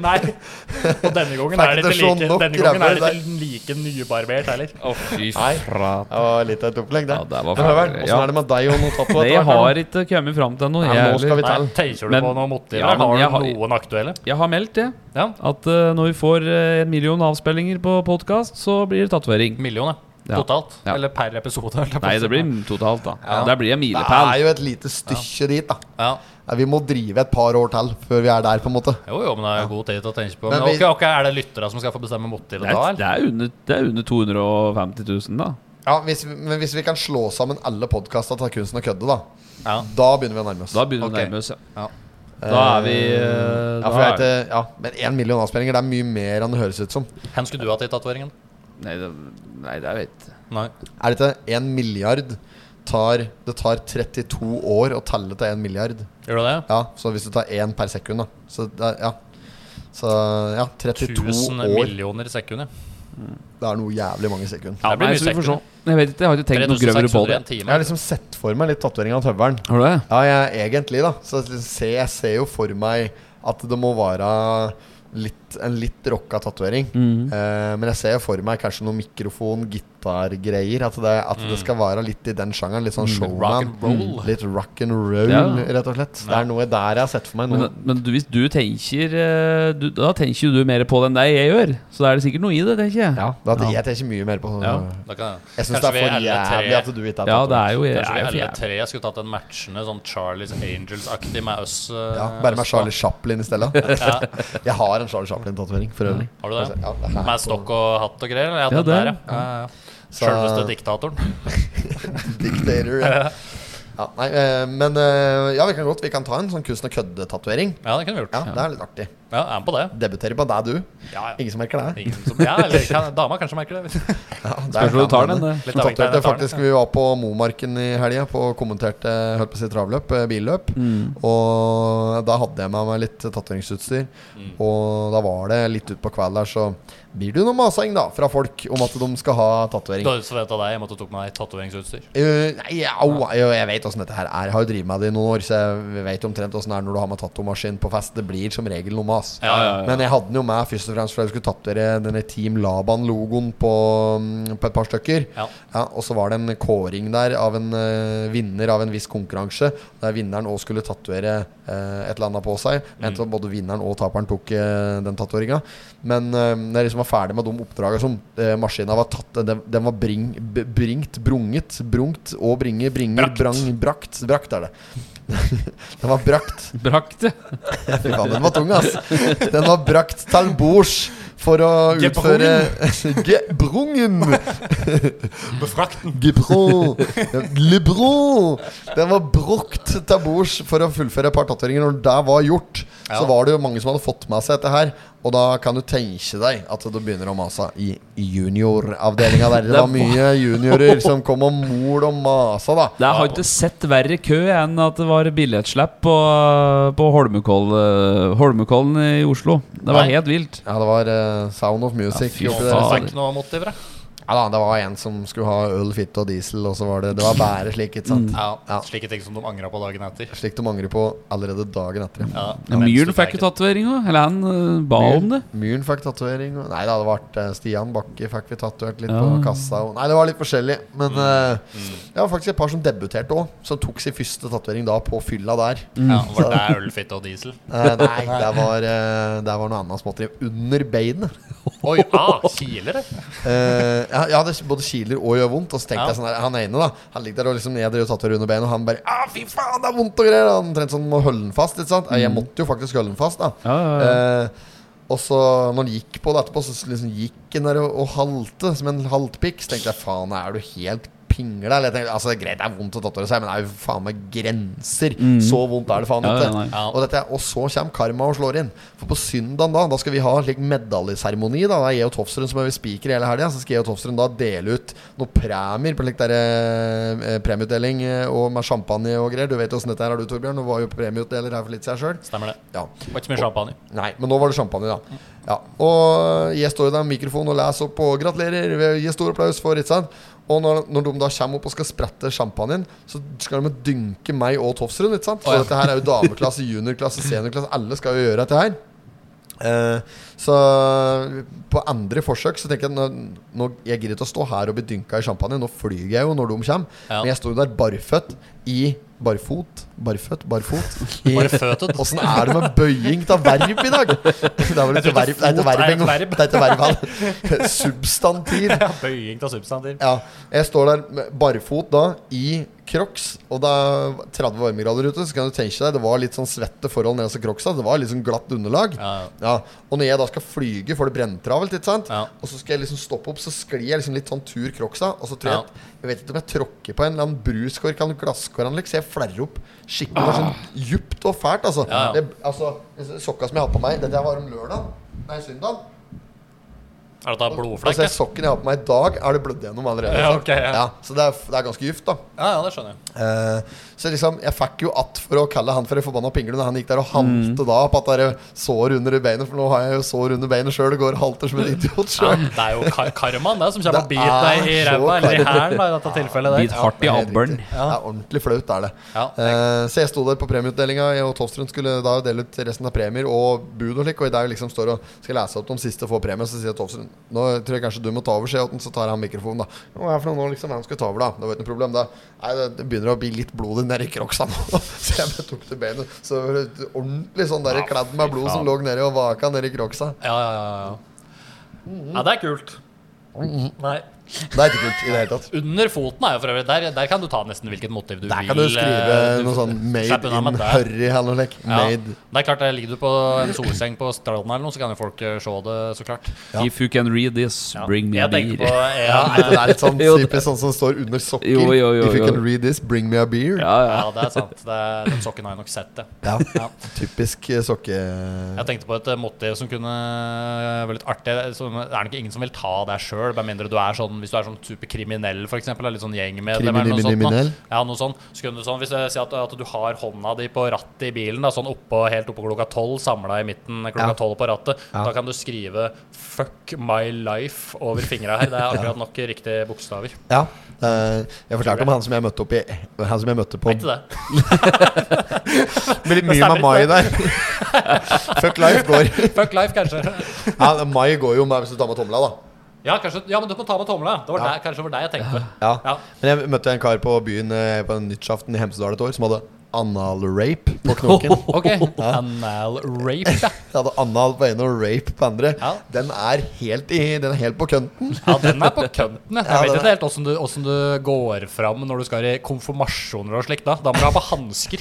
Nei. Og denne gangen
Fikk
er det
det
ikke
sånn
like,
nok
denne gangen er
rævhøl
det ikke like nybarbert heller.
Å, fy
Nei.
frat.
Det var litt av et opplegg, det.
Ja, det var
Men Høveren,
farlig,
Åssen
ja.
er altså, det med deg og noen
Det
tatoverer?
jeg har ikke kommet fram til noe.
Nei, nå skal vi
Jeg,
Nei,
Tell.
tenker du
Men-
på noe motiv?
Ja,
eller
men jeg
har
har-
du noen aktuelle?
jeg har meldt det.
Ja.
At eh, når vi får eh, en million avspillinger på podkast, så blir det tatovering.
Million, ja.
Ja.
Totalt?
Ja.
Eller per episode? holdt jeg på å
Nei,
si.
det blir totalt, da.
Ja.
Det blir en
Det
milepæl.
er jo et lite stykke dit, da.
ja.
Ja, Vi må drive et par år til før vi er der, på en måte.
Jo, jo, men det er god tid til å tenke på.
Men
Men ok,
vi-
ok, Er det lyttere som skal få bestemme motivet
Det
da,
er,
eller?
det, er under, det er under 250 000, da.
Ja, hvis, vi- men hvis vi kan slå sammen alle podkasta til Kunsten og kødde, da.
Ja.
Da begynner vi å nærme oss.
Da begynner vi
Ok.
å nærme oss, ja.
Ja.
Da er vi eh,
ja,
da
for jeg
er-
vet, det- ja, Men én million avspillinger, det er mye mer enn det høres ut som.
Hen skulle du hatt i tatoveringen?
Nei, det, nei, det er vet
Nei.
Er det ikke én milliard tar, Det tar 32 år å telle til én milliard.
Gjør du det?
Ja, så hvis du tar én per sekund, da. Så det er, ja. Så ja, 32
1000
år.
millioner sekunder.
Det er noe jævlig mange sekunder.
ja,
Det blir
nei,
mye
så vi får se.
sektere.
Jeg vet ikke, jeg har ikke tenkt noe grøvere på
3600 i
det.
en
Jeg har
time.
liksom sett for meg litt tatovering av tøvelen.
Har du det?
Ja, jeg egentlig, da. Så liksom ser- jeg ser jo for meg at det må være litt, en litt rocka tatovering.
Mm.
Eh, men jeg ser jo for meg kanskje noe mikrofon, gitargreier. At, det, at det skal være litt i den sjangeren. Litt sånn
Rock
showman.
and
Mm.
roll.
Litt rock and roll,
Ja.
rett og slett. Det er noe der jeg har sett for meg.
Men,
Noe.
men du, hvis du tenker eh, du, Da tenker jo du mer på det enn deg jeg gjør. Så da er det sikkert noe i det, tenker jeg.
Ja, da, jeg tenker mye mer på sånn
Ja.
Da kan jeg
Jeg syns det er
Kanskje vi
for
alle tre-
jævlig at du ikke er
Ja, det
tatovert.
er jo jeg,
Kanskje vi
jeg,
alle
jeg,
tre skulle tatt en matchende sånn Charlies Angels-aktig med oss. eh,
Ja, bare med
oss
Charlie Chaplin i stedet.
Ja.
Jeg har en Charlie Chaplin-tatovering for øvrig.
Har du det?
Ja, det
på-
er
Med stokk og hatt og greier? eller? Ja,
Ja,
den der,
det.
ja. ja. ja.
Så-
(laughs) Selveste diktatoren.
Dictator. Ja. Ja, nei, eh, men eh, ja, vi kan godt Vi kan ta en sånn kunst og kødde-tatovering.
Ja, det kunne vi gjort.
Ja,
Ja,
det er litt artig.
er med på det.
Debutere på deg, du.
Ja, ja.
Ingen som merker det?
Ingen som, ja, eller kan, dama kanskje merker det. (laughs)
Ja, det
Kanskje du tar den,
hende.
det.
Litt
Som
avhengig av deg
tatoverte
tar den,
faktisk Vi var på Momarken i helga på kommenterte holdt på å si, travløp, eh, billøp.
(laughs)
Og da hadde jeg med meg litt tatoveringsutstyr.
Mm.
Og da var det litt utpå kvelden der, så blir det jo noe masing da fra folk om at de skal ha tatovering.
Da forventa deg jeg måtte tok med deg tatoveringsutstyr.
Eh, nei, au, jo, jeg vet åssen dette her er. Jeg har jo drevet med det i noen år, så jeg vet omtrent åssen det er når du har med tatomaskin på fest. Det blir som regel noe mas.
Ja, ja, ja.
Men jeg hadde den jo med først og fremst fordi jeg skulle tatovere denne Team Laban-logoen på, mm, på et par stykker.
Ja.
Og så var det en kåring der av en eh, vinner av en viss konkurranse, der vinneren òg skulle tatovere eh, et eller annet på seg. Jeg
Mm.
tror både vinneren og taperen tok eh, den tatoveringa. Men eh, når jeg liksom var ferdig med de oppdraga som eh, maskina var tatt Den, den var bring, b- bringt, brunget, brungt og bringe, bringer,
Brakt.
brang, brakt. Brakt er det. (laughs) den var brakt.
Brakt det.
Fy faen, den var tung, ass. Den var brakt til bords for å utføre Gebrungen!
Befrakten.
Gebron! Lebron! Den var brukt til bords for å fullføre et par tatoveringer. Når det var gjort, så
Ja.
var det jo mange som hadde fått med seg dette her. Og da kan du tenke deg at du begynner å mase i junioravdelinga der. Det var mye juniorer som kom og mol og masa, da.
Jeg har ikke sett verre kø enn at det var billettslipp på, på Holmenkoll, eh, Holmenkollen i Oslo. Det var
Nei.
helt vilt.
Ja, det var eh, Sound of Music.
fy
oppi der.
faen.
Fikk noe motiv, da.
Ja da, det var en som skulle ha øl, fitte og diesel, og så var det Det var bare slik, ikke sant?
Ja,
Ja.
Slike ting som de angra på dagen etter.
Slik de angrer på allerede dagen etter.
Ja,
Myhren fikk jo tatovering òg. Eller han eh, ba om det.
Myhren fikk tatovering. og- Nei da, det var eh, Stian Bakke fikk vi tatovert litt
Ja.
på kassa. Og, nei, det var litt forskjellig. Men eh, det var faktisk et par som debuterte òg, som tok sin første tatovering da på fylla der.
Ja,
Mm.
var det ølfitte og diesel?
Eh, nei, det var, eh, det var noe annet småtteri. Under beinet.
Oi,
(laughs)
ah, kiler det?
Eh, ja, ja, det både kiler og gjør vondt. Og så tenkte
Ja.
jeg sånn her, Han ene, da. Han ligger der og liksom jeg drev og tatt henne under beina, og han bare ah, 'Fy faen, det er vondt' og greier. og Han omtrent sånn må holde den fast. Ikke sant? Eh, Jeg måtte jo faktisk holde den fast, da.
Ja, Mm. ja, ja.
Eh, og så, når han gikk på det etterpå, så liksom gikk han der og, og halte som en haltpikk. Så tenkte jeg faen, er du helt pingla? Eller jeg tenkte, altså, det er greit, det er vondt å tatovere seg, men det er jo faen meg grenser. Så vondt er det faen
Mm. Ja,
ikke.
ja, nei.
Ja.
og, dette, er- og så kommer karma og slår inn. For på søndag, da, da skal vi ha en slik medaljeseremoni. Da Det er jeg og Tofsrud som er spiker hele helga. Så skal jeg og Tofsrud da dele ut noen premier på en slik der, eh, premieutdeling eh, og med champagne og greier. Du vet åssen dette her er, du Torbjørn. Du var jo premieutdeler her for litt siden sjøl.
Stemmer det.
Ja.
Det Var ikke så mye champagne.
Nei, men nå var det champagne, da. Ja. Og jeg står jo der med mikrofon og leser opp og gratulerer. vi gir stor applaus for Ritzan. Og når, når de da kommer opp og skal sprette champagnen, så skal de dynke meg og Tofsrud. Ikke sant? Så dette her er jo dameklasse, juniorklasse, seniorklasse. Alle skal jo gjøre dette her. Eh, så på andre forsøk så tenker jeg nå, nå, Jeg gidder ikke å stå her og bli dynka i champagne. Nå flyr jeg jo når de kommer.
Ja.
Men jeg sto jo der barføtt i Barfot, barføtt, barfot i
Barføtet.
Åssen er det med bøying av verb i dag? Det er vel
Jeg
ikke
tror
verb,
ikke
det er ikke
fot er
verb
et
engang.
verb.
Det er ikke verb, vel. Substantiv.
Ja, bøying av substantiv.
Ja. Jeg står der med barfot da, i crocs, og det er 30 varmegrader ute, så kan du tenke deg, det var litt sånn svette forhold nede hos crocsa. Det var litt sånn glatt underlag.
Ja, ja.
Og når jeg da skal flyge, for det brenner travelt, ikke sant,
Ja.
og så skal jeg liksom stoppe opp, så sklir jeg liksom litt sånn tur crocsa, og så tror
Ja.
jeg Jeg vet ikke om jeg tråkker på en eller annen bruskork eller glasskorkanlegg, så jeg flerrer opp skikkelig bare sånn djupt og fælt, altså.
Ja, ja.
Det, altså sokka som jeg hadde på meg, dette her var om lørdag, nei, søndag.
Er dette blodflekk?
Altså, jeg sokken jeg har på meg i dag, er det blødd gjennom allerede.
Ja, ok, ja.
så det er, det er ganske gift, da.
Ja, ja, det skjønner jeg.
Eh, så liksom, jeg fikk jo att for å kalle han for en forbanna pingle når han gikk der og
Mm.
halte da på at det er sår under i beinet, for nå har jeg jo sår under beinet sjøl og går og halter som en idiot
Ja,
sjøl.
det er jo kar karmaen det som kommer og
Det
biter deg i
er så
ræva eller i
karma.
hælen da, i dette tilfellet.
Bit
Der.
hardt i abberen.
Ja. Det er ordentlig flaut, er det.
Ja.
Eh, så jeg sto der på premieutdelinga, jeg og Tofstrøm skulle da dele ut resten av premier og bud og slik, og i dag liksom står og skal lese opp de siste få premiene, så sier Tofstrøm Nå tror jeg kanskje du må ta over, sier Otten, så tar han mikrofonen, da. Hva er det for noe nå, liksom? Hvem skal ta over, da? Det var ikke noe problem, da. Nei, det, det begynner å bli litt blod i den der kroksa nå, (laughs) så jeg bare tok til beinet. Så var det ordentlig sånn der kledd med blod som lå nedi og vaka nedi kroksa.
Ja, ja, ja, ja. ja, det er kult. Nei.
Det er ikke kult i det hele tatt.
Under foten er jo for øvrig Der, der kan du ta nesten hvilket motiv du
Der
vil.
kan du skrive
eh, du-
noe sånn
Slapp
'Made
unna med
in
det.
Hurry' eller noe slikt.
Ja.
Made
Det er klart, eh, ligger du på en solseng på Stranda eller noe, så kan jo folk eh, se det, så klart.
If you can read this,
Ja.
bring me a
Jeg tenker
beer.
på ja,
Ja, nei, det er litt sånn
Jo, det-
typisk sånn som står under sokker.
Jo, jo, jo,
If you
jo.
can read this, bring me a beer. Ja,
Ja, ja.
ja, det er sant. Det er, den sokken har jeg nok sett, det. Ja.
Typisk eh, sokke...
Jeg tenkte på et eh, motiv som kunne eh, være litt artig. Som, det er nok ingen som vil ta deg sjøl, med mindre du er sånn Hvis du er sånn superkriminell, for eksempel, eller Litt sånn gjengmedlem eller noe sånt.
Kriminell?
nå. Ja, noe sånt. Så kunne du sånn, hvis jeg sier at, at du har hånda di på rattet i bilen, da, sånn oppå, helt oppå klokka tolv, samla i midten eh, klokka
Ja.
tolv på rattet, da kan du skrive 'fuck my life' over fingra
(laughs)
her. Det er akkurat nok riktige bokstaver.
Ja. eh, jeg fortalte om han som jeg møtte opp i Han som jeg møtte på
Vet du det?
Blir mye med mai der. (laughs) Fuck life går.
Fuck life, kanskje.
(laughs) Ja, mai går jo med hvis du tar med tomla, da.
Ja, kanskje, ja men du må ta med tomla. Det var der, kanskje det var der jeg tenkte.
Ja.
Ja.
Men jeg møtte en kar på byen eh, på en nyttårsaften i Hemsedal et år som hadde anal-rape på knoken.
(laughs) Ok. Anal rape, ja.
Jeg hadde anal på ene og rape på andre.
Ja.
Den er helt i Den er helt på kønten.
Ja, den er på kønten. Jeg, jeg
Ja,
vet
den
ikke helt åssen du, hvordan du går fram når du skal i konfirmasjoner og slikt. Da Da må du ha på
(laughs)
hansker.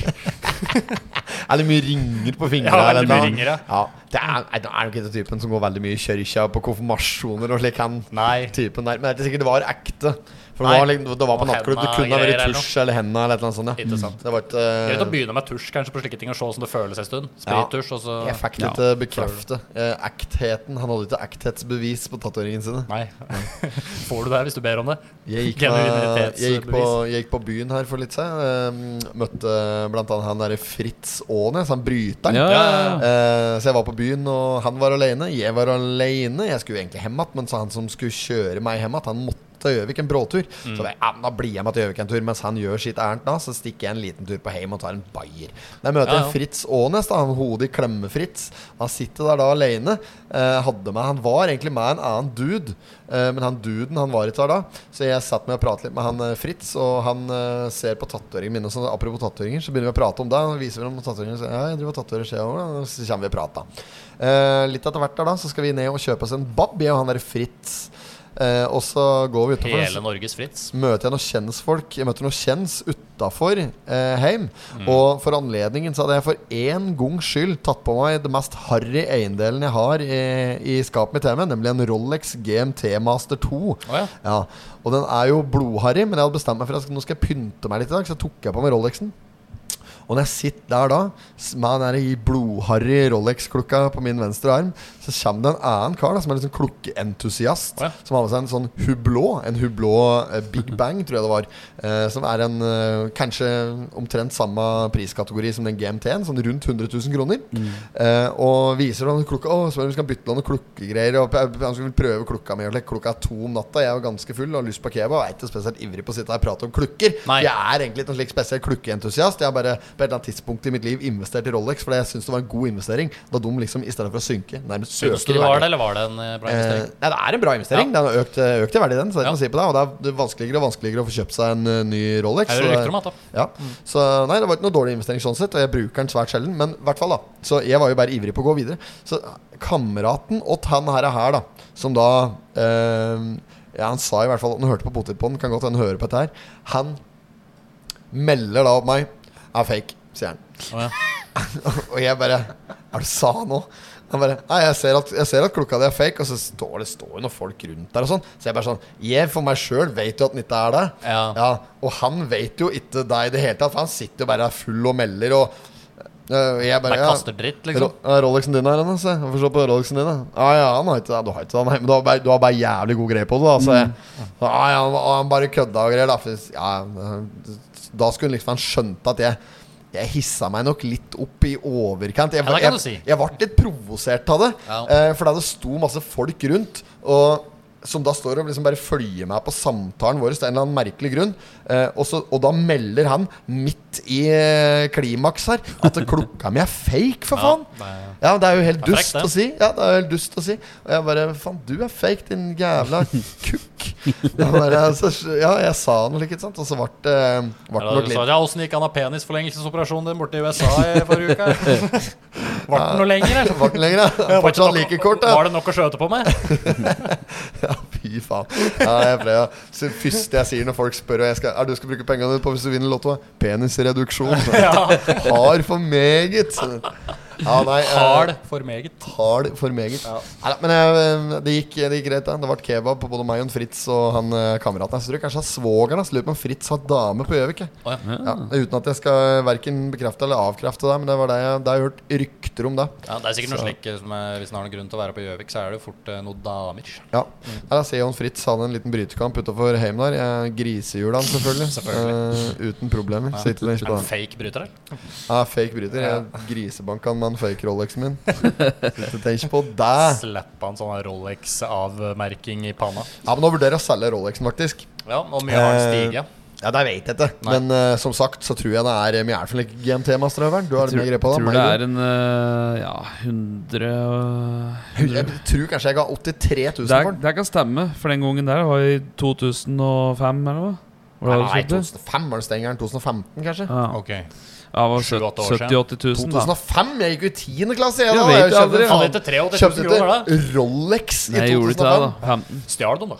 Er det mye ringer på fingrene?
Ja,
eller
veldig mye
noe?
ringer, ja.
ja. Det er, er det er nok ikke den typen som går veldig mye i kjørkja på konfirmasjoner og slik. Han
Nei.
typen der. Men det er ikke sikkert det var ekte. For det
Nei.
var, liksom- det var på
Og
nattklubb. Det
henda
kunne ha
greier
vært
eller
tusj eller henda eller et eller annet sånt.
Ikke sant.
Det var ikke
Greit å
eh,
begynne med tusj kanskje på slike ting og se hvordan det føles en stund.
Ja.
Sprittusj, og så
Jeg fikk
Ja.
litt eh, bekrefte eh, ektheten. Han hadde ikke ekthetsbevis på tatoveringene sine.
Nei. (laughs) Får du det hvis du ber om det?
Jeg gikk, med,
Genuinitetsbevis.
jeg, gikk på, jeg gikk på byen her for litt siden. eh, Møtte blant annet han derre Fritz Aanes, han bryteren.
Ja, ja,
Eh, så jeg var på byen, og han var alene. Jeg var alene. Jeg skulle jo egentlig hjem igjen, men så han som skulle kjøre meg hjem igjen, han måtte til Gjøvik, en bråtur.
Mm.
Så jeg, ja, men da blir jeg med til Gjøvik en tur. Mens han gjør sitt ærend da, så stikker jeg en liten tur på heim og tar en bayer. Der møter
Ja,
jeg
ja.
Fritz Aanes, da, han hodet i klemme-Fritz. Han sitter der da alene. Eh, hadde meg, han var egentlig med en annen dude, eh, men han duden han var ikke der da. Så jeg satt med og pratet litt med han eh, Fritz, og han eh, ser på tatoveringene mine. og sånn, apropos tatoveringer, så begynner vi å prate om det. Han viser frem tatoveringene og sier ja, jeg driver og tatoverer skjea over, da», og så kommer vi og prater. Eh, litt etter hvert der da, så skal vi ned og kjøpe oss en bab, jeg og han der Fritz. Eh, og så går vi utenfor
Hele Norges Fritz.
møter jeg noen kjensfolk Jeg møter noen kjens utafor eh, heim. Og for anledningen så hadde jeg for én gangs skyld tatt på meg det mest harry eiendelen jeg har i, i skapet mitt hjemme, nemlig en Rolex GMT Master 2.
ja.
Og den er jo blodharry, men jeg hadde bestemt meg for at nå skal jeg pynte meg litt i dag, så jeg tok jeg på meg Rolexen. Og når jeg sitter der da, s- med den der blodharry Rolex-klokka på min venstre arm, så kommer det en annen kar da, som er litt sånn klokkeentusiast,
Å ja.
som har med seg en sånn hublå, en hublå eh, Big Bang, tror jeg det var, eh, som er en eh, kanskje omtrent samme priskategori som den GMT-en, sånn rundt 100 000 kroner,
Mm.
eh, og viser den klokka, å, så er det vi skal bytte noen klokkegreier, og p- han skulle prøve klokka mi, og like, klokka er to om natta, jeg var ganske full, og har lyst på kebab, og er ikke spesielt ivrig på å sitte her og prate om klukker,
Nei.
jeg er egentlig ikke noen slik spesiell klukkeentusiast. Jeg har bare på et eller annet tidspunkt i mitt liv investert i Rolex fordi jeg syns det var en god investering. Da de liksom, i stedet for å synke, nærmest
Syns du
øker i
det var
verdi.
det, eller var det en eh, bra
Eh,
investering?
nei, det er en bra investering. Den har økt, økt i verdi, den. Så det,
Ja.
kan jeg si på det. Og det er- det er vanskeligere og vanskeligere å få kjøpt seg en eh, ny Rolex.
Jeg
så
hører
det-
rykter om at da.
ja. Så nei, det var ikke noe dårlig investering sånn sett, og jeg bruker den svært sjelden. Men i hvert fall, da. Så jeg var jo bare ivrig på å gå videre. Så kameraten åt han her, her da, som da eh, Ja, han sa i hvert fall at han hørte på potetpodden, kan godt hende han hører på dette her. Han melder da opp meg er fake, sier han.
Å,
(laughs) og jeg bare Er det sa nå? Han bare Nei, jeg ser at, jeg ser at klokka di er fake, og så står det står jo noen folk rundt der og sånn. Så jeg bare sånn Jeg for meg sjøl vet jo at den ikke er det.
Ja.
Og han vet jo ikke det i det hele tatt, for han sitter jo bare her full og melder og øh, jeg bare,
Bare
ja,
kaster dritt, liksom.
Ro- ja, Rolexen din her, Anne, se. Jeg får se på Rolexen din, da. Ja, ja, han har ikke det. Du har ikke det, nei. Men du har bare, du har bare jævlig god greie på det, da. Så
Mm.
jeg, ja, ja, han, han bare kødda og greier, da. For, ja, da skulle liksom han skjønt at jeg jeg hissa meg nok litt opp i overkant. Jeg,
Ja, det kan du
jeg,
si.
jeg ble litt provosert av det.
Ja.
eh, For da det sto masse folk rundt, og som da står og liksom bare følger med på samtalen vår av en eller annen merkelig grunn. Eh, og, så, og da melder han midt i eh, klimaks her at klokka mi er fake, for faen!
Nei.
Ja, det er jo helt
Det er
dust
frekt, det.
å si. Ja, det er jo helt dust å si Og jeg bare Faen, du er fake, din jævla
(laughs)
kukk. Jeg bare, altså, ja, jeg sa noe likt, sant. Og så ble det eh, ble det
Eller
nok
du
litt
sa, ja, Åssen gikk han av penisforlengelsesoperasjonen din borte i USA i forrige uke? (laughs) Vart den noe lenger, eller?
Ble den lenger, ja. Fortsatt like kort, ja.
Var det nok å skjøte på meg?
(laughs) ja fy faen. Ja, jeg pleier, å- så første jeg sier når folk spør og jeg skal, er du skal bruke pengene dine på hvis du vinner Lotto, penisreduksjon.
(laughs)
Har for meget. Ja, nei, eh,
Hard for meget.
hard for meget. Neida, men eh, det, gikk, det gikk greit. da. Det ble kebab på både meg og en Fritz og han eh, kameraten. Jeg tror kanskje det er svogeren. hans. Lurer på om Fritz har dame på Gjøvik. jeg.
Å, ja.
Ja, uten at jeg skal verken bekrefte eller avkrefte det, men det var det jeg, det har jeg hørt rykter om. det
Ja, det er sikkert noe slik eh, som er, Hvis en har noen grunn til å være på Gjøvik, så er det jo fort eh, noen damer.
Ja. Her er Seon Fritz hadde en liten brytekamp utafor heimen der. Jeg- Grisehjula, selvfølgelig. Eh, uten problemer. Sitter ikke
Er det
på den.
fake bryter, eller?
Ja, fake bryter. Jeg grisebanka han med en fake Rolexen min. Sitter tenk ikke på det.
Slipp han sånn her Rolex-avmerking i panna.
Ja, men nå vurderer jeg å selge Rolexen, faktisk.
Ja, og mye har den
Eh,
stiget.
Ja, det vet jeg ikke.
Nei.
Men eh, som sagt så tror jeg det er eh, mye hjelp for GMT-masterøveren. Du har mer greie på det.
tror
enn
det
meg,
er en eh, ja, 100 og-
du. Jeg tror kanskje jeg ga 83 000
det,
for den.
det kan stemme, for den gangen der var i 2005 eller noe. Var det
Nei,
det du kjøpte?
2005 var det stengeren. 2015, kanskje.
Ja.
Ok.
Ja, det var
Sju, åtte år
70 000-80 000, da.
2005? Jeg gikk jo i 10. klasse, jeg,
Jeg
da.
vet
Jeg kjøpte,
aldri.
Hadde
faen,
ikke 83
kjøpte
000 kroner, da?
ikke Rolex i
Nei, jeg gjorde ikke det,
2005.
da. 15.
Stjal dem, da.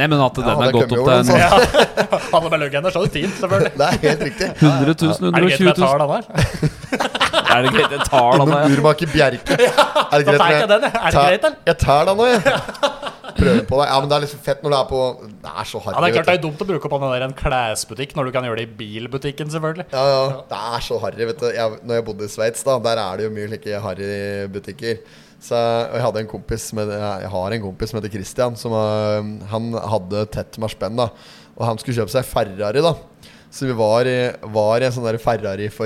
Nei, men at den
hadde
er
jeg
gått
kommet
opp
over
til
den,
en
så-
Hadde bare løgnet, så er det tid, selvfølgelig.
Det er helt riktig.
Er
100 000,
det greit
120
med
000.
tall, han her?
Er det greit? Jeg tar den,
Innom
da.
urmaker Bjerke. Er det
Da tar jeg
med-
ikke den, jeg. Er det
Ta-
greit, eller?
Jeg tar den nå, jeg. Prøver på det. Ja, men det er liksom fett når det er på Det er så harry.
Ja, Det er klart det
vet
er
du.
dumt å bruke opp han der i en klesbutikk når du kan gjøre det i bilbutikken, selvfølgelig.
ja, ja. Det er så harry, vet du. Jeg, når jeg bodde i Sveits, da, der er det jo mye slike harry butikker. Så og jeg hadde en kompis med, Jeg har en kompis som eh, heter Christian, som øh, han hadde tett med spenn, da. Og han skulle kjøpe seg Ferrari, da. Så vi var i, var i en sånn der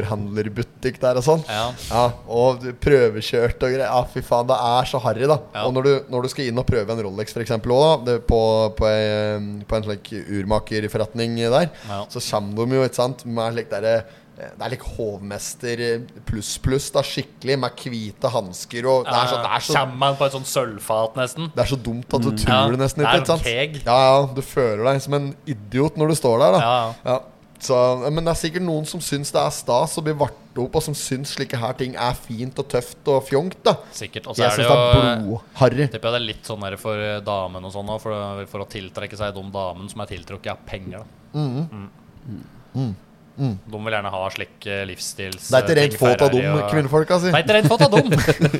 Ferrari-forhandlerbutikk der og sånn.
Ja.
Og du prøvekjørt og greier. Ja, fy faen, det er så harry, da.
Ja.
Og når du, når du skal inn og prøve en Rolex, f.eks. òg, på, på, ei, eh, på en slik urmakerforretning der,
Ja.
så kommer de jo, ikke sant, med slik derre eh, det er litt hovmester eh, pluss pluss, da skikkelig, med hvite hansker og det er, så, det, er så,
Kommer man på et sånn sølvfat, nesten?
det er så dumt at du tror
Mm. Ja,
det nesten
det
ikke.
er
ikke sant?
en keg.
Ja, ja, du føler deg som en idiot når du står der. da
Ja, ja.
ja. Så, men det er sikkert noen som syns det er stas å bli vartet opp, og som syns slike her ting er fint og tøft og fjongt. da
Sikkert. Og så
Jeg
er det
syns
jo
det er blodharry.
Tipper jeg det er litt sånn der for eh, damen og sånn også, for, for å tiltrekke seg de damene som er tiltrukket av penger. Da.
Mm.
Mm. De vil gjerne ha slik eh, livsstils...
Det er ikke
eh,
rent
ting,
fått av
Ferrari
de
og-
kvinnefolka,
Det er
si.
ikke rent fått av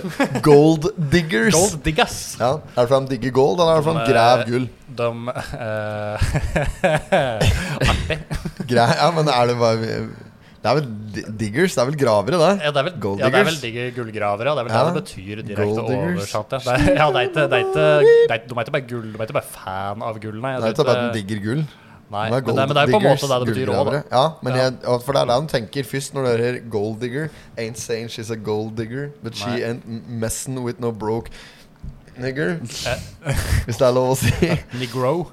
(laughs)
dem!
Gold diggers.
Gold diggas!
Ja, Er det for de digger gold, eller er det for de
De, eh,
grav gull?
De eh, (laughs) Artig.
Gra ja, men er det bare Det er vel di- diggers? Det er vel gravere, det?
Ja, det er vel,
Gold
ja, det er vel
diggers.
digge gullgravere. Ja. Det er vel
Ja.
det det betyr
Gold
direkte
diggers.
oversatt. Ja. Det er, ja, det er ikke, det er ikke, det er, ikke- de er ikke bare gull, de er ikke bare fan av gull, nei.
Nei,
Jeg
det er
tror
bare at
ikke-
den digger gull.
eh, Nei,
Den
men det, men det er jo på en måte det det betyr òg, da.
gullgravere. Ja, men
Ja.
Jeg, og for det er det han tenker først når du hører gold digger. Ain't saying she's a gold digger, but she
Nei.
ain't m- messing with no broke nigger.
Eh.
(laughs) Hvis det er lov å si.
Negro.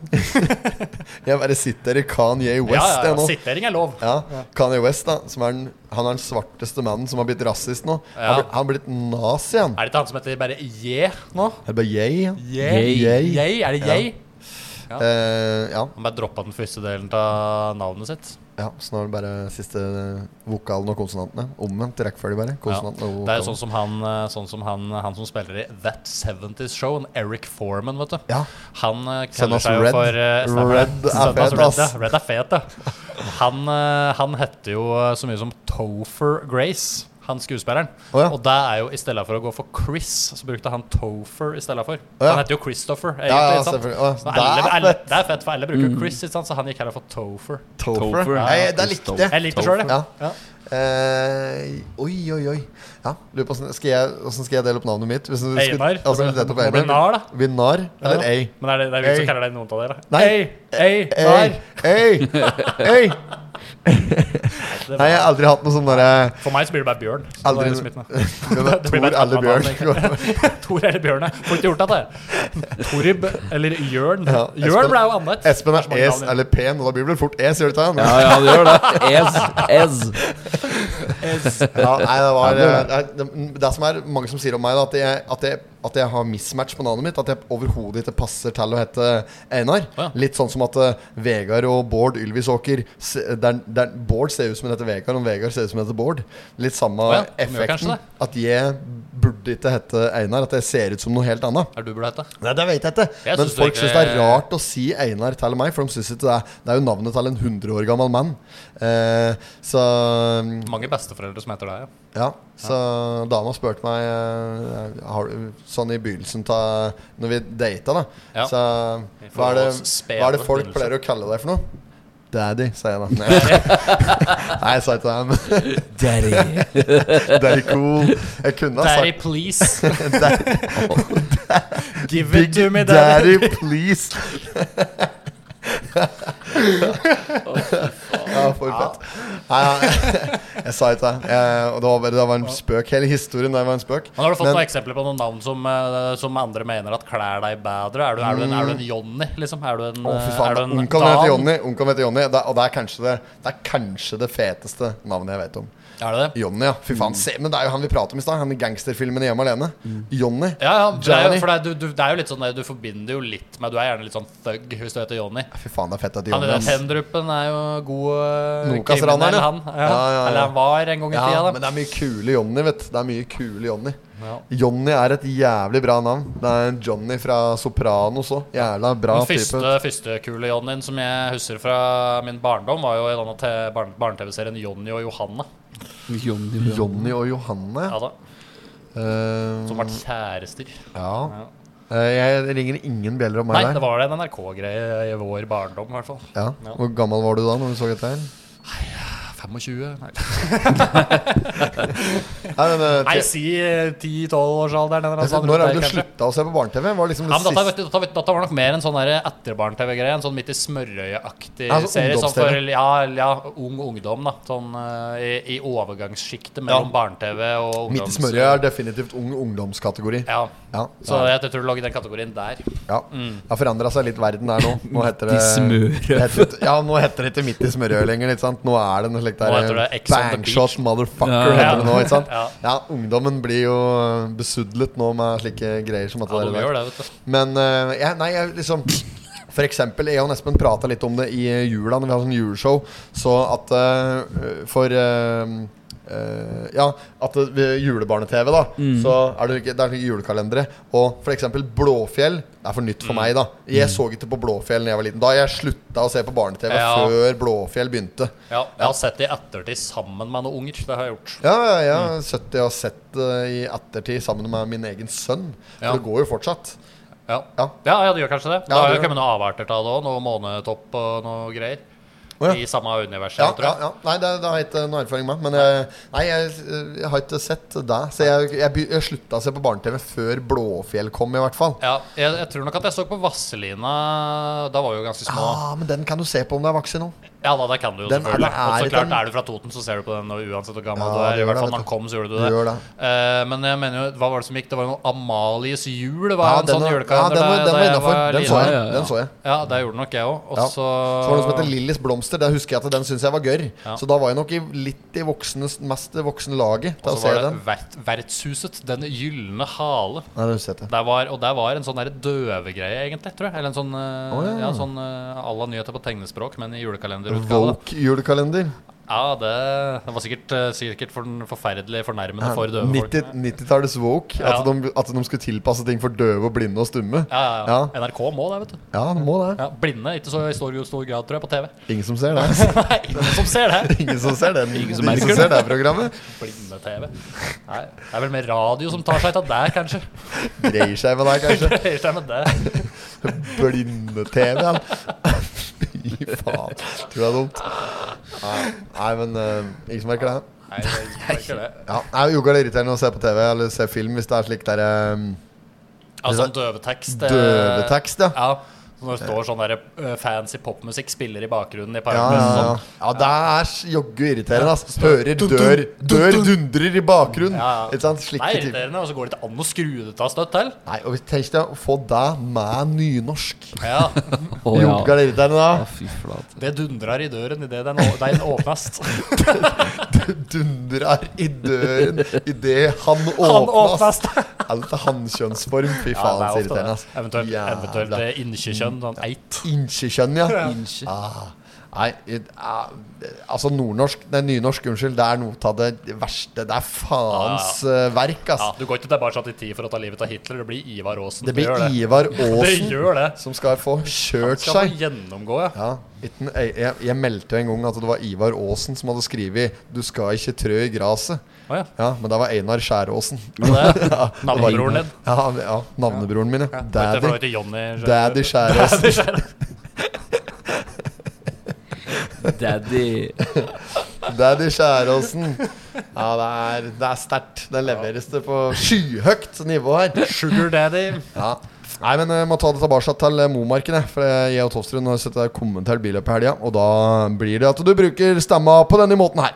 Jeg bare sitter i Kanye
Ja,
West,
ja,
jeg
ja.
nå.
Sittering er lov.
Ja, Kanye West, da, som er den, han er den svarteste mannen som har blitt rasist nå. Han
Ja.
blir- Han har blitt nazi, han.
Er det ikke han som heter bare J nå?
Er det bare yay? han?
J?
Yay.
J? Er det J?
Eh, ja.
Han bare droppa den første delen av navnet sitt.
ja. Så nå er det bare siste eh, vokalen og konsonantene. Omvendt rekkefølge, bare.
Ja.
Konsonantene og
Det er jo
vokalen.
sånn som, han, eh, sånn som han, han som spiller i That 70's Show, en Eric Foreman, vet du.
Ja.
Han eh,
Send
kaller
oss
seg jo
Red.
for eh, stemmer det.
Red er
Send oss
fet,
Red,
ass.
ja. Red er fet, da. Han, eh, han heter jo eh, så mye som Topher Grace, han skuespilleren.
Å ja.
Og det er jo i stedet for å gå for Chris, så brukte han Topher i stedet for.
ja.
Han heter jo Christopher, egentlig.
Ja, ja,
ikke sant?
selvfølgelig. Å,
Så
det
alle,
er
alle,
fett. Mm.
det er fett, for alle bruker jo Chris, ikke sant? så han gikk heller for Topher.
Topher.
Topher.
Nei, det likte jeg.
Jeg liker det sjøl, jeg.
Ja. Eh, oi, oi, oi. Ja, lurer på hvordan skal, jeg, hvordan skal jeg dele opp navnet mitt? Hvis du skulle-
Einar?
Altså, hvis det heter på
Det blir
Einar.
Nar, da.
Vinar eller
Ja.
Ei?
Men er det, det er jo ingen
Ei.
som kaller deg noen av dere?
Nei.
Ei, ei,
Ei,
nei.
ei,
(laughs)
ei.
Det
Nei,
var,
jeg har aldri hatt noe sånn derre
for meg så blir det bare Bjørn. så
Aldri
det er liksom ikke noe.
(laughs)
Det blir
Tor
bare
eller
et
Bjørn.
(laughs) Tor eller Bjørn, jeg. Får ikke gjort det, jeg. Torib eller Jørn.
Ja, Espen-
Jørn ble jo annet.
Espen
Det så
er
mange
Es
navn i-
eller Pen, og da blir det vel fort Es, gjør det ikke
(laughs) Ja,
det?
ja, det gjør det. Ez, ez.
Ja, nei, det
(laughs)
var eh, det, er- det som er mange som sier om meg, da, at jeg, at jeg, at jeg har mismatch på navnet mitt. At jeg overhodet ikke passer til å hete Einar.
Ja.
Litt sånn som at eh, Vegard og Bård Ylvisåker se- der, der, Bård ser ut som han heter Vegard, og Vegard ser ut som han heter Bård. Litt samme
Å ja, de gjør kanskje
effekten.
det.
At jeg burde ikke hete Einar. At jeg ser ut som noe helt annet.
Er du burde hete?
Nei, det vet jeg ikke.
Jeg
Men
synes det
folk
ikke-
syns det er rart å si Einar til meg, for de synes ikke det er Det er jo navnet til en 100 år gammel mann. Eh, så
Mange besteforeldre som heter deg, ja.
ja, så dama spurte meg eh, har, du- sånn i begynnelsen ta, Når vi data, da.
Ja.
Så hva er,
forholds
det,
spede
hva er det folk
begynnelse.
pleier å kalle deg for noe? Daddy, sa jeg da. Nei, (laughs) Nei jeg sa ikke det. men
Daddy.
(laughs) Daddy cool. Jeg kunne ha
Daddy,
sagt
please.
(laughs)
(laughs)
Daddy,
Give it
Big
to me, daddy.
daddy,
(laughs)
please. ja, for fett. Nei, ja, (laughs) jeg sa ikke det. Eh, Og det var, bare, det var en spøk. Hele historien der var en spøk.
Men har du fått
Men-
noen eksempler på noen navn som, eh, som andre mener at klær deg bedre? Er du, er du, en, er du en Johnny, liksom? Er du en,
Mm. Å,
eh,
fy
er
faen.
du en
Onkelen heter
Dan?
Johnny. Onkelen heter Johnny det, og det er, kanskje det, det er kanskje det feteste navnet jeg vet om.
Er det det?
Johnny, ja. Fy
Mm.
faen. Se, men det er jo han vi prater om i stad. Han i gangsterfilmen Hjemme alene. Johnny.
Ja, ja, for det er,
Johnny.
jo- for det, er- du, du, det er jo litt sånn eh, Du forbinder jo litt med Du er gjerne litt sånn thug hvis du heter Johnny.
Fy faen, det er fett at
Han
Johnny
i den
ass.
Tendrupen er jo god eh, kriminell,
Nokas-raneren, ja.
han. Ja.
Ja, ja, ja.
Eller han var en gang i
Ja,
tida,
men
da.
det er mye kule Johnny, vet du. Det er mye kule Johnny.
Ja.
Johnny er et jævlig bra navn. Det er en Johnny fra Sopranos òg. Jævla bra
Den
type.
første, første kule Johnnyen som jeg husker fra min barndom, var jo i denne te- barn- barne-TV-serien Jonny og Johanna.
Johnny og Johanne.
Ja, da,
Eh,
Altså, som ble kjærester.
ja. Eh, jeg ringer ingen bjeller om meg
Nei,
der.
det var en NRK-greie i vår barndom, i hvert fall.
Ja.
Ja.
Hvor gammel var du (laughs) da når du så dette
25?
her?
Nei.
Nei, Nei, men, eh,
Nei,
tre-
si 10-12-årsalderen. eller noe
Altså,
sånt
Når
rundt
er
der,
det du
kanskje.
slutta å se på barne-TV? Var liksom det
Ja, men dette,
siste
vet du, dette, vet du, dette var nok mer en sånn der etterbarn-TV-greie. En sånn midt i smørøyaktig
Ja, sånn
serie. Sånn for
ungdoms-TV.
ja, ja, ung ungdom, da. Sånn eh, i, i overgangssjiktet mellom barne-TV og ungdoms...
Midt i smørøyet er definitivt ung ungdomskategori.
Ja.
Ja,
Så jeg, mm. jeg tror du lå i den kategorien der.
ja. Det har forandra seg litt verden der nå.
(laughs)
Nå heter det
i smørøyet.
det heter- Ja, nå heter det ikke Midt i smørøyet lenger. Ikke sant? Nå er det en slik
Nå heter
der
det Ex on the
Bangshot motherfucker
Ja.
heter det nå. Ikke sant?
Ja.
Ja, ungdommen blir jo besudlet nå med slike greier som at
Ja,
det
de
der.
gjør det, vet du.
Men eh, jeg, nei, jeg liksom For eksempel, jeg og Espen prata litt om det i eh, jula, når vi hadde sånn juleshow. Så at eh, for eh, eh, ja, at det- ved jule-barne-TV, da.
Mm.
Så er det, ikke, det er ikke julekalendere. Og for eksempel Blåfjell. Det er for nytt
Mm.
for meg, da. Jeg så ikke på Blåfjell da jeg var liten. Da jeg slutta å se på barne-TV
Ja.
før Blåfjell begynte.
Ja, jeg har sett det i ettertid sammen med noen unger. Det har jeg gjort.
Ja, ja, ja.
Mm.
70 har sett det i ettertid sammen med min egen sønn.
Ja.
For det går jo fortsatt.
Ja,
Ja.
ja, ja det gjør kanskje det. Det
Ja,
har
det
jo
gjør
kommet noen avarter av det òg. Noe månetopp og noe greier.
Å, ja.
I samme universet,
Ja,
tror
ja,
jeg.
ja. Nei, det, det har jeg ikke noe erfaring med. Men jeg, nei, jeg, jeg har ikke sett det. Så jeg, jeg, begy- jeg slutta å se på barne-TV før Blåfjell kom, i hvert fall.
Ja, jeg, jeg tror nok at jeg så på Vasselina. Da var vi jo ganske små.
Ah, men den kan du se på om du er voksen nå.
Ja da, det kan du jo
Den er-
selvfølgelig.
det er
og så
litt
klart
den-
er du fra Toten, så ser du på den og uansett hvor gammel
Ja,
du
det
er.
gjør
I
det,
hvert fall
vet
når den
du.
kom, så gjorde du
Du
det.
gjør det.
Eh, men jeg mener jo, hva var det som gikk? Det var noe Amalies jul? Det var
Ja,
en
den,
sånn
var- ja,
julekalender
den var,
da-
den
da
var
jeg
innafor. Den, så
liten.
jeg.
Ja, ja, ja.
den så jeg.
Ja, det gjorde nok jeg òg. Og
Ja.
så
Så var det noe som heter Lillys blomster. Der husker jeg at den syns jeg var gørr.
Ja.
Så da var jeg nok i, litt i voksnes, mest i voksne laget
og
til å
så
se
var det
den.
vert, Vertshuset. Den gylne hale.
Nei, det husker jeg ikke.
Der var, og der var en sånn der døvegreie, egentlig. tror jeg Eller en sånn eh,
Å, ja.
ja, sånn eh, à la nyheter på tegnespråk, men i julekalenderutgave. da.
Voke-julekalender.
Ja, det, det var sikkert, eh, sikkert for forferdelig fornærmende for døve folk.
90 90-tallets woke.
Ja.
At, de, at de skulle tilpasse ting for døve, og blinde og stumme.
Ja, ja, ja.
Ja.
NRK må det, vet du.
Ja, det må det.
Ja, blinde ikke så i stor, stor grad, tror jeg, på TV. (laughs)
Ingen som ser det. (laughs)
Nei, ingen som ser det.
Ingen som ser den. Ingen som,
som merker
ser det programmet.
Blinde-TV. Nei, Det er vel mer radio som tar seg av det, kanskje.
Dreier seg med
(laughs)
deg, (laughs) kanskje.
Greier seg med det.
Blinde-TV, ja. (laughs) Fy faen. Tror jeg det er dumt. Nei, nei men eh, ingen som merker det.
Nei, det er ikke det.
Ja, nei, jo, det er irriterende å se på TV eller se film hvis det er slik der um,
Ja, sånn døvetekst. eh,
døvetekst, ja.
Ja. så Når det står sånn der, eh, fancy popmusikk spiller i bakgrunnen i
Ja,
parken.
ja, ja.
Sånn.
ja, det er s- joggu irriterende. Ass. Hører dør, dør dundrer i bakgrunnen.
Ja, ja.
Ikke sant?
Det er
Slike ting.
irriterende, og så går det ikke an å skru det av støtt til.
Nei, og hvis- Tenk deg å få det med nynorsk.
Ja,
Å,
Jo,
ja.
det er irriterende da.
Å, fy flate.
Det dundrer i døren idet den, å- den
(laughs)
åpnes.
dundrer i døren idet han
Han
åpnes.
åpnes.
(laughs) Alt er hannkjønnsform. Fy
Ja,
faen,
det er
så
ofte
irriterende. ass.
det. Eventuelt, eventuelt
Jævla
eh, inkjekjønn. Sånn eit.
Innsjekjønn, ja.
Innsje.
Ah, nei, i- ah, altså nordnorsk Nei, nynorsk, unnskyld. Det er noe av det verste. Det er faens eh, verk,
Ja,
ass.
du går ikke tilbake til tid for å ta livet av Hitler. Det blir Ivar Aasen.
Det blir
gjør (laughs) det.
Ivar
Det
Aasen
gjør det.
som skal få kjørt
Skal
seg.
få gjennomgå, ja.
Ja, itten, jeg, jeg, jeg meldte jo en gang at det var Ivar Aasen som hadde skrevet 'Du skal ikke trø i graset'.
Å, ja.
Ja, men det var Einar Skjæråsen.
Men (laughs) det navnebroren din.
Ja, han- ja navnebroren min, ja.
Daddy.
Daddy.
Til Johnny,
Daddy
(laughs)
Skjæråsen.
Daddy Skjæråsen.
Daddy.
Daddy Skjæråsen. Ja, det er, det er sterkt. Det leveres det på skyhøyt nivå her.
Sugar Daddy.
Ja. Nei, men jeg må ta det tilbake til eh, Momarken. jeg, For eh, jeg og Tofstrud har sett deg kommentert billøp i helga. Og da blir det at du bruker stemma på denne måten her.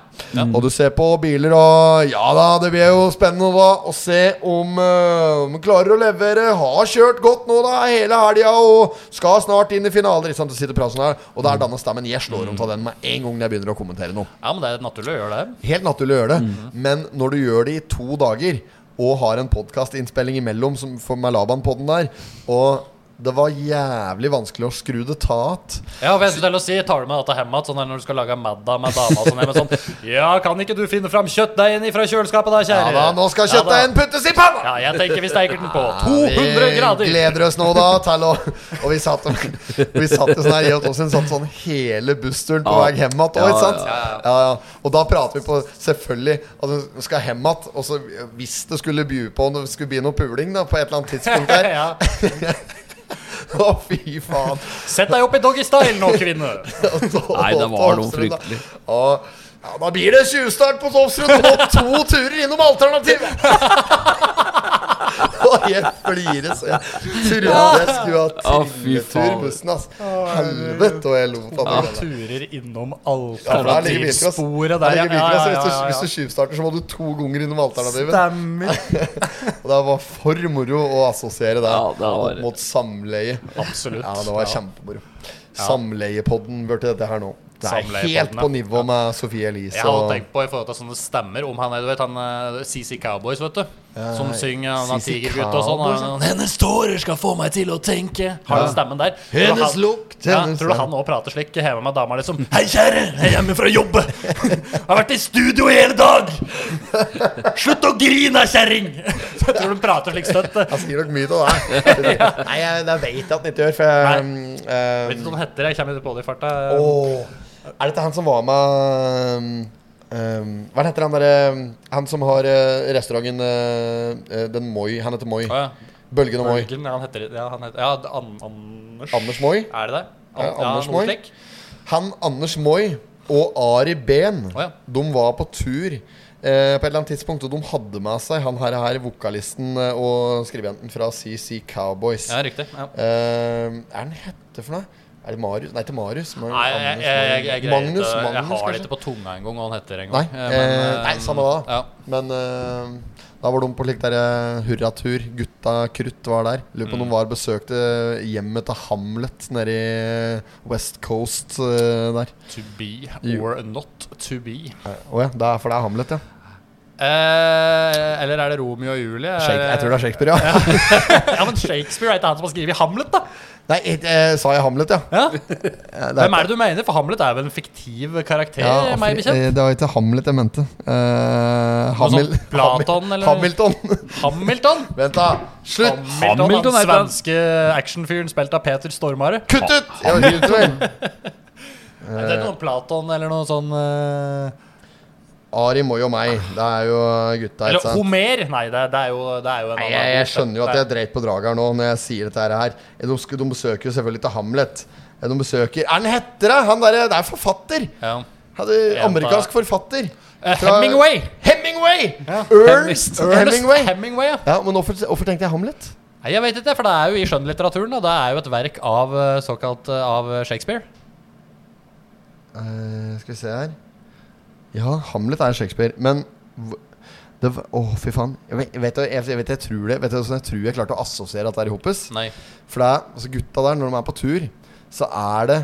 Og du ser på biler og Ja da, det blir jo spennende da å se om, eh, om de klarer å levere. Har kjørt godt nå da hele helga og skal snart inn i finaler. Ikke sant? Du sitter og prater sånn her. Og det er denne stemmen jeg slår om av den med en gang jeg begynner å kommentere noe.
Ja, men det er naturlig å gjøre det.
Helt naturlig å gjøre det, men når du gjør det i to dager og har en podkastinnspilling imellom som for meg Laban-podden der, og det var jævlig vanskelig å skru det tatt
Ja, og vent til å si, tar du med dette hjem igjen, sånn der når du skal lage middag med dama og sånn, men sånn Ja, kan ikke du finne fram kjøttdeigen ifra kjøleskapet da,
Ja
kjære?
da, nå
Ja da.
skal kjøttdeigen puttes i panna!
Ja, jeg tenker vi steker den på
Ja,
200
Vi
grader.
gleder oss nå da til å Og vi satt, vi satt jo sånn her Jeg og Torstein satt sånn hele bussturen på
Ja.
vei hjem igjen.
Ja,
ikke sant?
ja,
Ja, ja. Og da prater vi på Selvfølgelig altså, skal hjem igjen. Og så hvis det skulle by på Om det skulle bli noe puling da på et eller annet
(laughs)
tidspunkt der
Ja.
Å, fy faen.
Sett deg opp i doggystyle nå, kvinne.
Og så-
Nei, det var noe
Absolutt, da.
fryktelig.
Og, Ja, da blir det tjuvstart på Toppsrud og to turer innom alternativet!
(laughs)
Og jeg flirer så jeg trodde jeg skulle ha
Å, fy
trilletur
faen.
bussen, ass. Helvete, og jeg lo av
Ja.
det. der.
Turer innom
Ja, for der ligger bilcross.
alternativsporet
Der
der.
ligger bilcross. Hvis du, hvis du
ja.
tjuvstarter, så må du to ganger innom alternativet.
Stemmer.
(laughs) Og det var for moro å assosiere det
Ja, det var-
opp mot samleie.
Absolutt.
Ja, det var
Ja.
kjempemoro. Samleiepodden ble til dette her nå. Det er helt
Samleiepodden,
på
ja.
nivå med Sofie Elise.
Jeg hadde
og-
tenkt på i forhold til sånne stemmer om han er, du vet, han eh, CC Cowboys, vet du. Som synger han har
CC
tigergutt og sånn. og
Cowboys,
han- Hennes tårer skal få meg til å tenke. Har den stemmen der. Tror du
Hennes
han-
lukt,
Ja,
hennes-
tror du han òg prater slik hjemme med dama liksom Hei, kjære, jeg er hjemme fra jobb. (laughs) Har vært i studio i hele dag. Slutt å grine, kjerring! (laughs) Så Jeg tror de prater slik støtt.
Han sier nok mye av
(laughs)
det. Nei, jeg, det vet jeg at han ikke gjør, for
Nei.
jeg
Vet ikke hva
um,
den heter, jeg kommer ikke på det i farta.
Åh, Er dette han som var med um, um, Hva heter han derre um, Han som har uh, restauranten uh, uh, Den Moi. Han heter Moi.
Å, ja.
Bølgen og Moi.
Jørgen, ja, han heter Ja, han heter, ja An Anders.
Anders Moi.
Er det det?
Ja, Anders
noe
Moi.
slik.
Han Anders Moi og Ari Behn
Å, ja.
De var på tur eh, på et eller annet tidspunkt, og de hadde med seg han her, her vokalisten eh, og skribenten fra CC Cowboys.
Ja, riktig. Ja.
Eh, er han hette for noe? Er det Marius? Nei, ikke Marius. Men
Nei, jeg, jeg, jeg, jeg,
Anders Moi.
greier
Magnus,
ikke,
Magnus,
jeg har det
kanskje?
ikke på tunga engang hva han heter. En
Nei,
gang. Eh,
eh,
eh,
nei, samme da.
Ja.
Men eh, da var de på slik der eh, hurratur. Gutta krutt var der. Lurer
Mm.
på om de var besøkte hjemmet til Hamlet nede i West Coast eh, der.
To be
Jo.
or not to be.
Å ja, det er, for det er Hamlet, ja.
Eh, eller er det Romeo og Julie? Er
Shake, jeg tror det er Shakespeare, ja.
(laughs) Ja, men Shakespeare er ikke han som har skrevet Hamlet, da!
(laughs) Nei, jeg, jeg, sa jeg Hamlet, ja?
Ja.
Eh, Det
Hvem er det du mener? For Hamlet er vel en fiktiv karakter,
ja,
meg
for-
bekjent?
eh, det var ikke Hamlet jeg mente. Eh, Hamil,
sånn Platon, eller?
Hamilton. (laughs)
Hamilton!
Vent, da. Slutt!
Hamilton,
Hamilton
den
heter han.
svenske actionfyren spilt av Peter Stormare.
Kutt ut! Jeg orker ikke mer. Eh.
Er det noe Platon eller noe sånn eh,
Ari Moi og meg. Det er jo gutta, ikke
Eller
sant?
Homer! Nei, det, det, er, jo, det er jo en
Nei,
annen
jeg, jeg
bok,
skjønner jo at
det-
jeg dreit på draget her nå når jeg sier dette her. Eh, De, sk- de besøker jo selvfølgelig ikke Hamlet. Eh, De besøker Er han heter det? Han derre Det er forfatter!
ja.
Han er Amerikansk forfatter.
Eh,
Fra-
Hemingway!
Hemingway! Ernst
Ernest
Hemingway.
Hemingway ja.
Ja, men hvorfor, hvorfor tenkte jeg Hamlet?
Nei, jeg vet ikke, for det er jo i skjønnlitteraturen. da. Det er jo et verk av eh, såkalt eh, av Shakespeare.
Eh, skal vi se her Ja, Hamlet er Shakespeare, men hv- det var, Å, fy faen. Jeg vet, jeg vet, jeg, jeg, vet, jeg tror det Vet du hvordan jeg tror jeg klarte å assosiere at det er i hoppes?
Nei.
For det er, altså gutta der, når de er på tur, så er det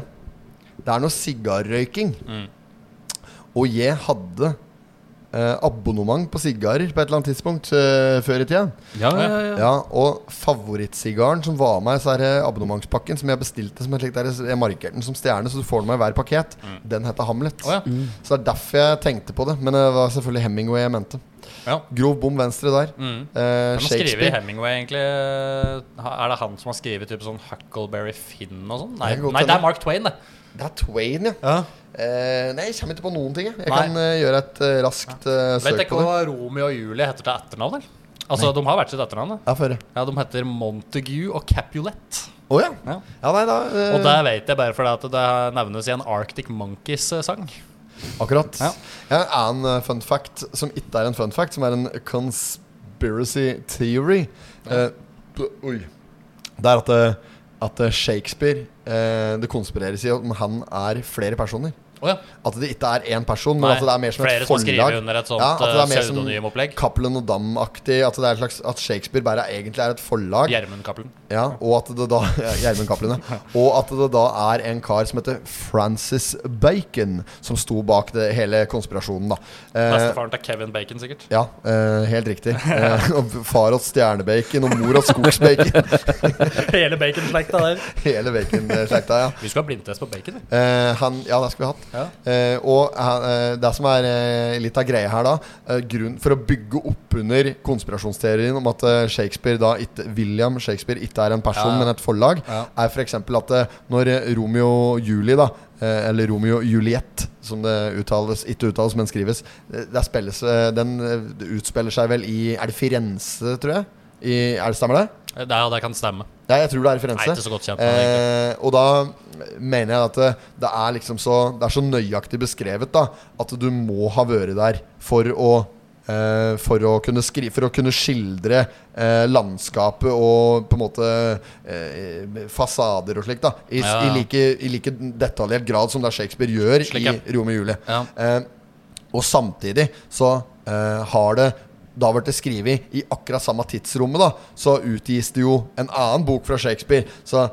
Det er noe sigarrøyking. Og jeg hadde eh, abonnement på sigarer på et eller annet tidspunkt eh, før i tida.
Ja, ja, ja.
Ja, og favorittsigarren som var med i så her eh, abonnementspakken, som jeg bestilte som et slikt der, jeg markerte den som stjerne, så du får den med i hver pakket, den heter Hamlet.
Mm. Å ja.
Så det er derfor jeg tenkte på det. Men det var selvfølgelig Hemingway jeg mente.
Ja.
Grov bom venstre der.
Mm.
Eh,
Hvem har skrevet
Shakespeare.
Hemingway, egentlig? Ha- Er det han som har skrevet typ, sånn Huckleberry Finn og sånn? Nei,
Det er godt
nei, det
hende.
er Mark Twain, det.
Det er Twain, ja.
Ja.
Eh, nei, jeg kommer ikke på noen ting. Jeg, jeg
Nei.
kan eh, gjøre et eh, raskt eh,
Vet
søk
ikke
på det.
hva Romeo og Julie heter til etternavn, eller? Altså, De har hvert sitt etternavn. da.
Ja, før det.
Ja, De heter Montague og Capulet.
Å ja.
Ja.
ja. Nei, da. eh,
Og det vet jeg bare fordi at det nevnes i en Arctic eh, Monkeys-sang.
Akkurat.
Ja.
Jeg har en annen fun fact som ikke er en fun fact, som er en conspiracy theory. Eh, p- oi. Det er at, eh, at eh, Shakespeare eh, Det konspireres i om han er flere personer.
Oh, ja.
At det ikke er én person, men
Nei,
at altså, det er mer som
flere
et
som skriver
forlag.
under et sånt
Ja, at det er
eh,
mer som-
pseudonymopplegg.
Cappelen og Dam-aktig. At, det er et slags- at Shakespeare bare er, egentlig er et forlag.
Gjermund Cappelen.
Ja, og at det da (laughs) ja, Gjermund Cappelen, ja. Og at det da er en kar som heter Francis Bacon, som sto bak det hele konspirasjonen, da. Eh,
Bestefaren til Kevin Bacon, sikkert.
ja, eh, helt riktig. Eh, og far åt stjernebacon, og mor åt skogsbacon.
(laughs) Hele bacon-slekta der.
Hele bacon-slekta, ja.
Vi skulle ha blindtest på bacon. vi.
Eh, han, ja, det skulle vi hatt. Eh, og han, eh, det som er eh, litt av greia her, da eh, grunn, For å bygge opp under konspirasjonsteorien om at eh, Shakespeare da ikke, William Shakespeare ikke er en person,
Ja, ja.
men et forlag,
Ja.
er f.eks. at eh, når eh, Romeo og Julie, da eh, eller Romeo og Juliet, som det uttales ikke uttales, men skrives eh, der spilles, eh, Den eh, det utspiller seg vel i Er det Firenze, tror jeg? I, er det Stemmer det?
Eh, Det, ja, det kan stemme.
Ja, jeg tror det er referanse.
Jeg er ikke så godt kjent med det, egentlig.
Eh, og da mener jeg at det, det er liksom så Det er så nøyaktig beskrevet da at du må ha vært der for å eh, for, å kunne skri, for å kunne skildre eh, landskapet og på en måte eh, fasader og slikt. da I, s-
Ja, ja.
I, like, I like detaljert grad som det Shakespeare gjør
Slik, ja.
i Romeo og Julie.
Ja.
Eh, og samtidig så eh, har det da vært det skrevet i akkurat samme tidsrommet, da. Så utgis det jo en annen bok fra Shakespeare så,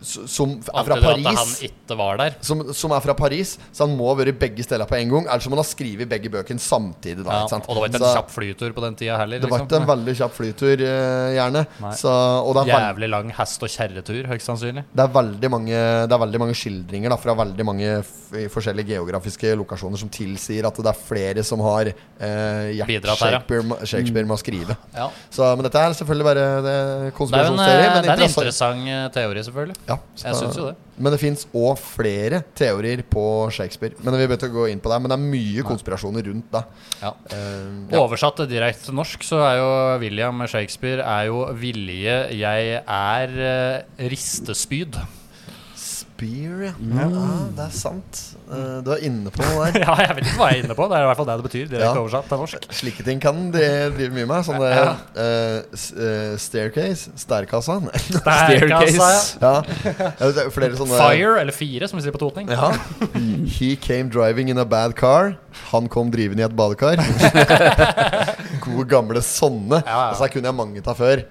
s- som er
Antyder
fra
at han
Paris.
ikke var der.
Som, som er fra Paris, så han må ha vært i begge steder på en gang. Ellers må han ha skrevet begge bøkene samtidig. Da,
Ja,
ikke sant?
og det var ikke
Så
en kjapp flytur liksom. på den tida heller.
det var ikke en veldig kjapp flytur, eh, gjerne. Så, og det er, veld,
Jævlig lang hest- og kjerretur, høyst sannsynlig.
det, er veldig mange, det er veldig mange skildringer da, fra veldig mange f forskjellige geografiske lokasjoner som tilsier at det er flere som har eh, hjert
Bidratt her, ja.
Shakespeare, ma- Shakespeare med å skrive.
Ja.
Så, men dette er selvfølgelig bare eh, det
Det
er
er jo en,
konspirasjonsteori.
eh,
men
det er en
interessant-
interessant eh, teori, selvfølgelig.
Ja, så
Jeg
da-
syns jo det.
Men det fins òg flere teorier på Shakespeare. Men vi bør ikke gå inn på det Men det er mye konspirasjoner rundt det.
Ja.
Eh, ja.
Oversatt direkte til norsk så er jo William Shakespeare er jo 'vilje jeg er eh, ristespyd'. (laughs)
Spear, ja. ja. Det er sant. Eh, du er inne på noe der.
ja, jeg vet ikke hva jeg er inne på. Det er i hvert fall det det betyr. Direkte
Ja.
oversatt til
(laughs)
norsk.
Slike ting kan de drive mye med. Sånn
Ja.
det eh, s- eh, Staircase. Stærkassa.
Staircase.
ja. Ja, det er Flere sånne
altså, Fire, eller fire, som vi sier på Totning.
Ja. He came driving in a bad car. Han kom drivende i et (laughs) badekar. Gode, gamle sånne.
ja.
Altså, her kunne jeg mange ta før.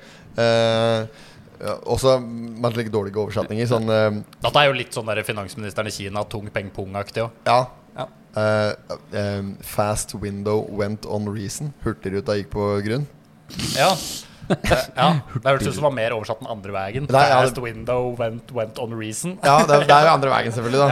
Eh, ja, også med litt dårlige oversetninger. Sånn eh,
Dette er jo litt sånn der finansministeren i Kina, tung peng pung-aktig òg.
Ja.
Ja.
Eh, eh, fast window went on reason. Hurtigruta gikk på grunn.
Ja. Eh, ja. Det hørtes ut som det var mer oversatt den andre veien.
Nei, ja, det-
Fast window went, went on reason.
Ja, det er, det er jo andre veien, selvfølgelig. da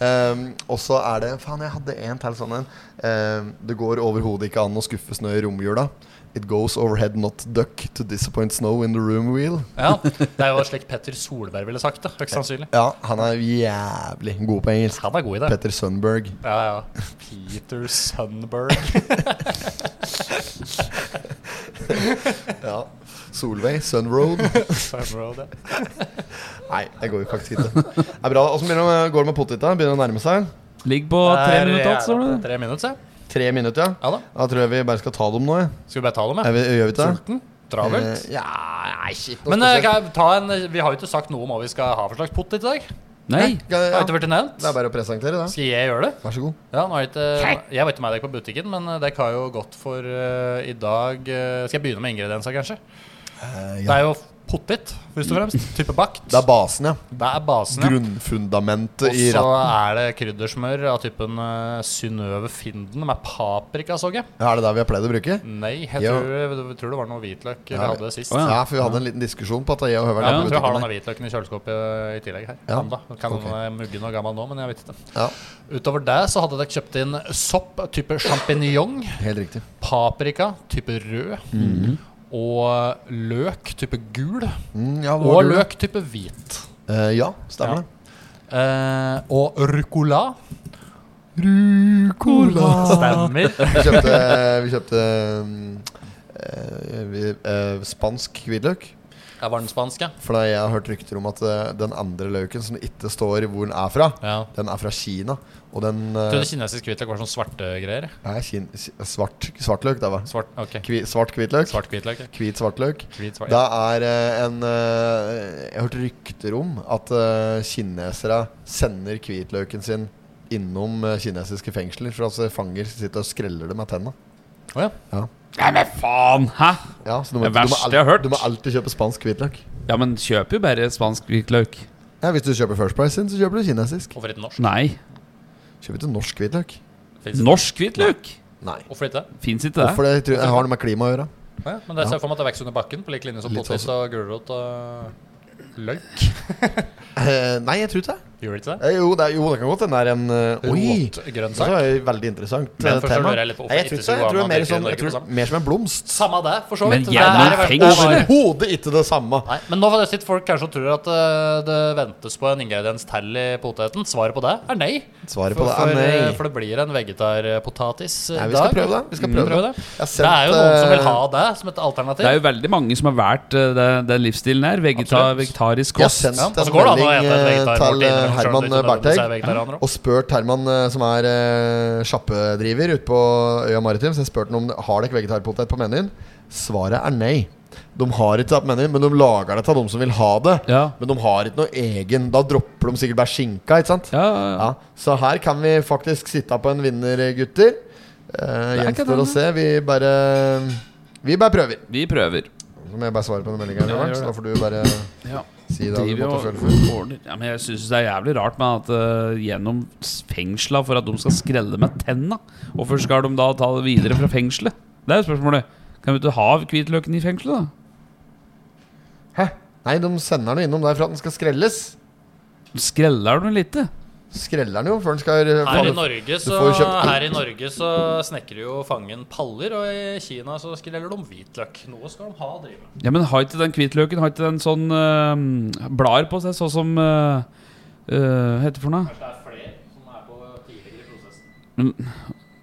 Ja,
Ehm, Og så er det Faen, jeg hadde en til sånn en. Ehm, det går overhodet ikke an å skuffe snø i romjula. It goes overhead not duck to disappoint snow in the room wheel.
Ja, Det er jo slik Petter Solberg ville sagt det. Høyst sannsynlig.
Ja, han er jævlig god på engelsk.
Han er god i det.
Petter Sundberg.
Ja, ja. Peter Sundberg.
Ja. Solveig (laughs) Sunroad.
Sundberg, ja.
Nei, det går jo faktisk ikke. Det er bra. Åssen begynner det- går det med pottita? Begynner det å nærme seg?
Ligg på tre minutter altså, alt, står det.
Tre minutter, ja.
Tre minutter, ja.
ja da.
Da tror jeg vi bare skal ta dem nå. jeg.
Skal vi bare ta dem,
Er
ja?
vi, gjør vi ikke det?
Sulten? Travelt?
Eh, ja, nei, shit. noe
Men eh,
spesielt.
kan jeg ta en, vi har jo ikke sagt noe om hva vi skal ha for slags pott i dag.
Nei.
Det har
ja,
ikke vært nevnt.
Det er bare å presentere, det.
Skal jeg gjøre det?
Vær så god.
Ja, nå er det ikke, jeg var ikke med deg på butikken, men eh, dere har jo gått for eh, i dag eh, Skal jeg begynne med ingredienser, kanskje? Det er jo potet, først og fremst. Type bakt.
Eh, Det er basen, ja.
Det er basen. ja.
Grunnfundamentet
Og
i
så
ratten.
er det kryddersmør av typen uh, Synnøve Finden med paprika, så jeg.
Ja, Er det der vi har pleid å bruke?
Nei, jeg
Ja.
tror, jeg tror det var noe hvitløk vi
Ja.
hadde sist.
Å,
Ja,
Ja.
for vi hadde en liten diskusjon på at jeg og Høveren
Ja,
er
jeg
på
tror jeg har
butikken
denne
her.
hvitløken i kjøleskapet i tillegg her.
Ja,
Ja. Kan
ok.
okay. mugge noe gammel nå, men jeg vet ikke.
Ja,
Utover det så hadde dere kjøpt inn sopp type sjampinjong,
helt riktig.
paprika type rød,
Mhm.
og løk type gul,
Mm, ja,
og
var du-
løk type hvit.
Eh, ja,
Ja.
stemmer det.
Eh, og rucola. Rucola Stemmer.
Vi kjøpte, vi kjøpte mm, eh, vi- eh, spansk hvitløk.
Jeg var den spanske.
For da jeg har hørt rykter om at eh, den andre løken som det ikke står hvor den er fra,
Ja.
den er fra Kina. Og den
Jeg
eh,
trodde kinesisk hvitløk var sånn svarte greier.
Nei, kin ki- svart, svartløk, det var.
Svart, ok
Kvi, svart hvitløk.
Svart hvitløk. ja.
Hvit svartløk.
Hvit, svart.
Det er eh, en eh, Jeg har hørt rykter om at eh, kinesere sender hvitløken sin innom eh, kinesiske fengsler. For altså fanger sitter og skreller det med tenna.
Å ja.
Nei, men faen! Hæ?
Ja, så du
Det
du
verste
alt-
jeg har hørt.
Du må alltid kjøpe spansk hvitløk.
Ja, men kjøp jo bare spansk hvitløk.
Ja, Hvis du kjøper First Price sin, så kjøper du kinesisk.
Hvorfor ikke norsk?
Nei.
Kjøper ikke norsk hvitløk.
Finnes det-
Norsk hvitløk?
Nei.
Hvorfor ikke?
Fins ikke det?
Hvorfor det? Jeg tror- Det har noe med klima å gjøre.
Ja, men det ser jeg for meg at det vokser under bakken, på lik linje som
Litt
potet
sånn
og gulrot og løk.
Eh, nei, jeg tror ikke det.
Gjør det ikke det?
Eh, Jo, det, er, jo, det kan godt hende det er en eh, Oi!
Rotgrønn
Det
sak.
er jo veldig interessant
Men
eh,
først så
tema.
lurer jeg litt på hvorfor
Nei, jeg
ikke
tror ikke det. Jeg
så
tror det
går
er
man
mer,
til
sånn,
Norge liksom. på
jeg tror, det er mer som en blomst.
Samme det, for så
Men
vidt.
gjennom
Det er- det er-
fengsel?
Overhodet ikke det samme.
Nei, men nå sitter folk kanskje og tror at eh, det ventes på en ingrediens til i poteten. Svaret på det er nei.
Svaret på
For,
det er
for,
nei.
eh, for det blir en vegetarpotatis eh, i
Nei,
dag.
vi skal prøve det. Vi skal prøve
prøve
det.
det.
Jeg
Det
har
er jo noen som
eh,
vil ha det som et alternativ.
Det er jo veldig mange som har valgt eh, det- den livsstilen her. Vegeta,
Absolutt.
vegetarisk
Jeg har
kost.
sendt
Ja, og så
en
går det an å
melding
ete et
eh,
vegetarmåltid
til
innimellom, selv om
eh, Herman
det ikke nødvendigvis er vegetarianer
Berteig
også.
og spurt Herman, eh, som er eh, sjappedriver ute på øya Maritim, så jeg spurte han om har dere vegetarpotet på menyen. Svaret er nei. De har ikke det på menyen, men de lager det til de som vil ha det.
Ja.
Men de har ikke noe egen. Da dropper de sikkert bare skinka, ikke sant?
Ja, ja, ja.
Ja, så her kan vi faktisk sitte på en vinner, gutter. Eh,
Det er ikke
gjenstår å
det.
se. Vi bare Vi bare prøver.
Vi prøver.
Så må jeg bare svare på den meldinga,
Ja, gjør
så da
det.
får du bare
Ja.
si det. du
Driver
måtte
og
føle for.
ordner ja, men Jeg syns det er jævlig rart med at eh, gjennom s- fengsla for at de skal skrelle med tenna. Hvorfor skal de da ta det videre fra fengselet? Det er jo spørsmålet. Kan vi ikke ha hvitløken i fengselet, da?
Hæ? Nei, de sender den jo innom der for at den skal skrelles.
Skreller de litt?
Skreller den jo før den skal
Her i, Norge så,
får jo kjøpt-
her i Norge så snekrer jo fangen paller, og i Kina så skreller de hvitløk. Noe skal de ha å drive med.
Ja, men har ikke den hvitløken Har ikke den sånn eh, blader på seg, sånn som uh, Heter det for noe?
Det er flere som er på tidligere i prosessen.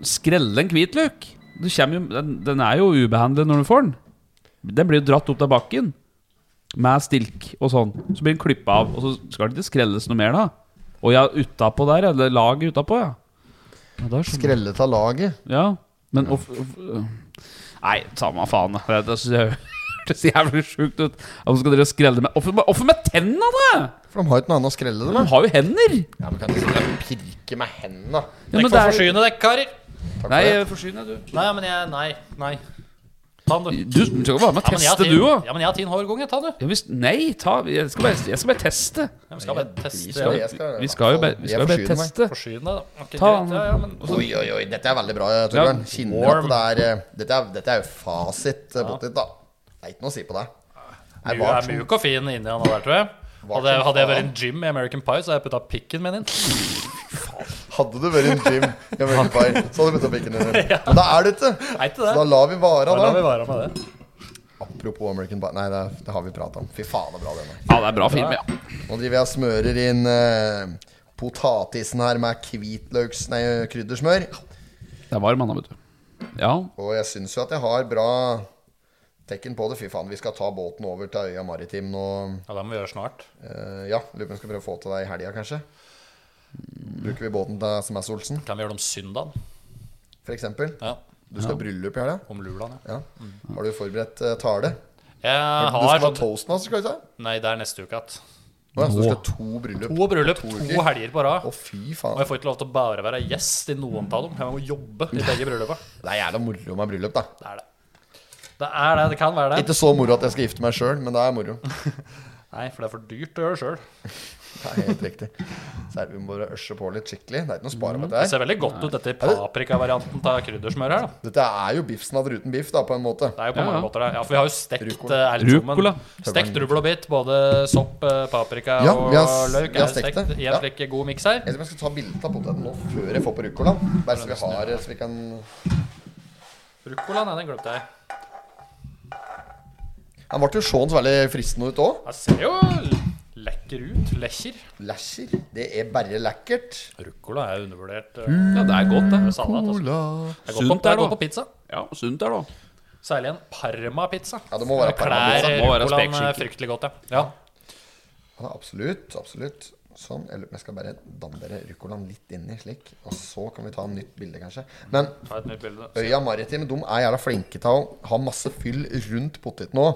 Skrelle en hvitløk? Du kommer jo, den, den er jo ubehandlet når du får den. Den blir jo dratt opp av bakken med stilk og sånn. Så blir den klippa av, og så skal det ikke skrelles noe mer da. Og ja, utapå der, eller laget utapå, ja. ja det er sånn.
skrellet av laget.
Ja, men off, off, Nei, samme faen. da. Det, det synes jeg (laughs) hørtes jævlig sjukt ut. Hvorfor skal dere skrelle med Hvorfor med- hvorfor med tenna, da?
For de har jo ikke noe annet å skrelle det
De
med.
har jo hender!
Ja, men kan ikke sitte og pirke med hendene.
Ja, men
Dere får
det er,
forsyne dere, karer.
nei, forsyn deg, du.
Nei, men jeg Nei. nei. Ta den, du.
Du du skal jo være med og
Ja, men jeg har
teste,
tin-
du òg.
Ja, men jeg har tin hårgonge. Ta den, du.
Ja, hvis, nei, ta, jeg, skal bare, jeg skal bare teste.
Jeg skal bare teste.
skal-
ja.
Jeg skal-
vi skal jo bare, vi
jeg
skal jo bare
forsyner meg.
teste.
Forsyne deg, da. Ok,
Ta
greit, ja, ja, men
Oi, oi, oi. Dette er veldig bra, Torbjørn. Kjenner at det er eh, Dette er, dette er jo fasit eh, potet, da. Det er ikke noe å si på det. Nei,
Du
hva
er mjuk og fin inni han der, tror jeg. Hadde jeg, hadde jeg vært en gym i American Pie, så hadde jeg putta pikken min inn.
Hadde du vært en gym i American Pie, så hadde du putta pikken din inn. Men da er du ikke.
Er ikke
Så da
det?
lar vi vare,
Da lar vi
da.
være med det.
Apropos American Pie. Nei, det, er- det har vi prata om. Fy faen, det er bra, denne.
Ja, det er bra film, ja.
Nå driver jeg og smører inn eh, potatisen her med hvitløks... Nei, kryddersmør.
Det er varm, han da, vet du. Ja.
Og jeg syns jo at jeg har bra tekken på det. Fy faen, vi skal ta båten over til øya Maritim nå.
Ja, det må vi gjøre snart.
Eh, ja, lurer på om vi skal prøve å få til det i helga, kanskje. Bruker vi båten til SMS-Olsen,
Kan vi gjøre det om søndagen?
f.eks.?
Ja.
Du skal ha bryllup i helga?
Om lulaen, ja.
Ja. Har du forberedt eh, tale?
Jeg har
du skal ha
sånn
toastmaster, skal du ikke?
Nei, det er neste uke igjen.
Å, ja, så du skal ha to bryllup?
To bryllup,
To
to
uker.
helger på rad.
Å, fy
Og jeg
faen.
får ikke lov til å bare være gjest i noen av dem. Jeg må jobbe i begge bryllupa.
Det er jævla moro med bryllup, da.
Det er det. Det er det. Det kan være det.
Ikke så moro at jeg skal gifte meg sjøl, men det er moro.
Nei, for det er for dyrt å gjøre sjøl.
Det er helt riktig. Så er det, vi må bare øsje på litt skikkelig. Det er ikke noe å spare på dette
Det
her.
ser veldig godt ut, dette paprikavarianten av kryddersmør her. da
Dette er jo biffsnadd uten biff, da, på en måte.
Det er jo på
Ja,
mange
ja.
måter det. Ja, for vi har jo stekt
Rucola.
eh, alt sammen.
Rucola.
Stekt rubbel og bit. Både sopp, eh, paprika
Ja,
og
vi har s-
løk.
vi har
er
stekt
stekt
det.
i en
Ja.
slik god miks her.
Jeg tror jeg skal ta bilde av poteten nå før jeg får på ruccolaen. Bare så vi har så vi kan
Rucola, nei, den glemte jeg.
Han ble jo sånn veldig fristende ut òg.
Den ser jo lekker ut. Lekker.
Læsjer. Det er bare lekkert.
Rucola er undervurdert. eh,
ja, det er godt, det.
salat, altså. Det går på,
Sunt er
det
det
går
også.
på pizza.
Ja, Sunt er det òg.
Særlig en parmapizza.
Ja, det må være
Klær
parmapizza.
Det må være
Rucolaen eh,
spekeskinke.
fryktelig godt, ja. ja.
Ja, absolutt. Absolutt. Sånn. Jeg lurer- jeg skal bare dandere ruccolaen litt inni, slik. Og så kan vi ta et nytt bilde, kanskje. Men
Ta et nytt bilde.
Øya Maritim de er jævla flinke til å ha masse fyll rundt poteten òg.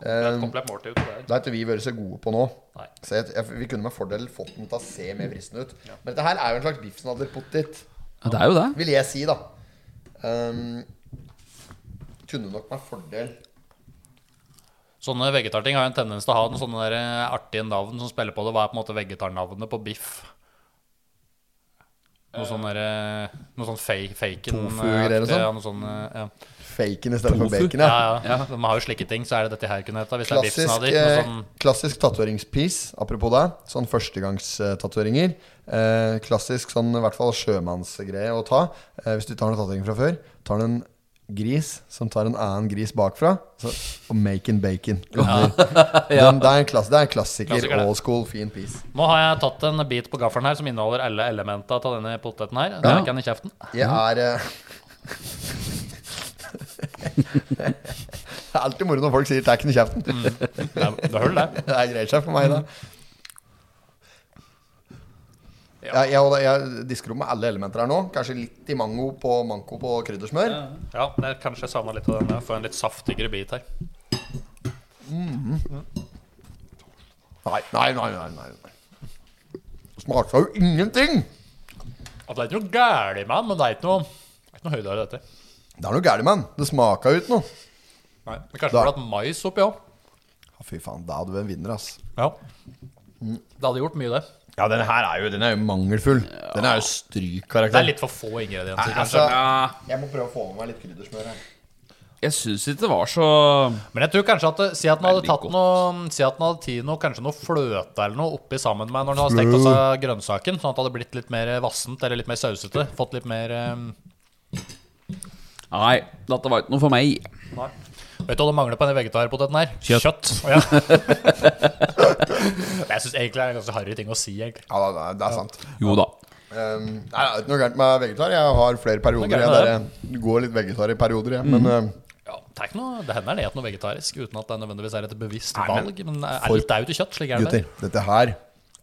Et komplett måltid ut der.
Det har ikke vi vært så gode på nå.
Nei.
Så jeg, jeg, vi kunne med fordel fått den til å se mer fristende ut. Men dette her er jo en slags biffsnadderpotet,
Ja, det er jo det.
vil jeg si, da. Um, kunne nok med fordel
Sånne vegetarting har jo en tendens til å ha noen sånne der eh, artige navn som spiller på det. Hva er på en måte vegetarnavnet på biff? Noe sånn derre Noe sånn fe- faken
Tofu-greier og sånn?
Ja, noe sånn eh, ja.
Faken i stedet for
Tofu?
bacon,
Ja,
ja.
ja. De har jo slike ting, så er det dette her kunne heta. Hvis det er biffsen av
Klassisk,
de. Noe
eh,
sånn
klassisk tatoveringspiece, apropos det. Sånn førstegangstatoveringer. Eh, klassisk sånn i hvert fall sjømannsgreie å ta. Eh, hvis du ikke har noen tatovering fra før, tar du en gris som tar en annen gris bakfra, så, og make and bacon.
(laughs)
under. Den, det, er en klass, det er en klassiker.
Klassiker, det.
Old school, fin piece.
Nå har jeg tatt en bit på gaffelen her som inneholder alle elementa av denne poteten her. Der
Ja.
gikk den i kjeften.
Jeg er eh, (laughs) Det er alltid moro når folk sier 'tacken' i kjeften.
Det er, det er hull, det.
Det er greit seg for meg, da. Jeg, jeg, jeg disker opp med alle elementer her nå. Kanskje litt i mango på manko på kryddersmør.
Ja, det er kanskje jeg savna litt av denne. Få en litt saftigere bit her.
Nei, nei, nei. nei, nei, nei. Smakte jo ingenting!
At det er ikke noe gærent med den, men det er ikke noe, det er ikke noe høydere i dette.
Det er noe gærent med den. Det smaka ut noe.
Nei, men Kanskje
Da-
det hadde hatt mais oppi òg.
Ja, fy faen, da er du en vinner, ass.
Ja. Det hadde gjort mye, det.
Ja, den her er jo, den er jo mangelfull. Den er
Det er
jo strykkarakter.
litt for få ingredienser, kanskje.
Altså,
Ja,
jeg må prøve å få med meg litt kryddersmør her.
jeg syns ikke det var så
Men jeg tror kanskje at det- Si at den hadde
Veldig
tatt
godt.
noe Si at den hadde tatt noe Kanskje noe fløte eller noe oppi sammen med når den hadde stekt også grønnsaken, sånn at det hadde blitt litt mer vassent eller litt mer sausete. Fått litt mer eh,
Nei, dette var ikke noe for meg.
Vet du hva det mangler på denne vegetarpoteten her?
Kjøtt.
Å,
(laughs)
ja. jeg syns egentlig det er en ganske harry ting å si, egentlig.
Ja, det er, det er sant.
Jo da.
Um, nei, det er ikke noe gærent med vegetar. Jeg har flere perioder
Noe
jeg,
gærent
der jeg går litt vegetar i perioder, jeg. Men uh,
Ja, det, er ikke noe, det hender det at noe vegetarisk, uten at det nødvendigvis er et bevisst
men-
valg. Men eh, er
For-
er litt daud i kjøtt, slik er det.
gutter, dette her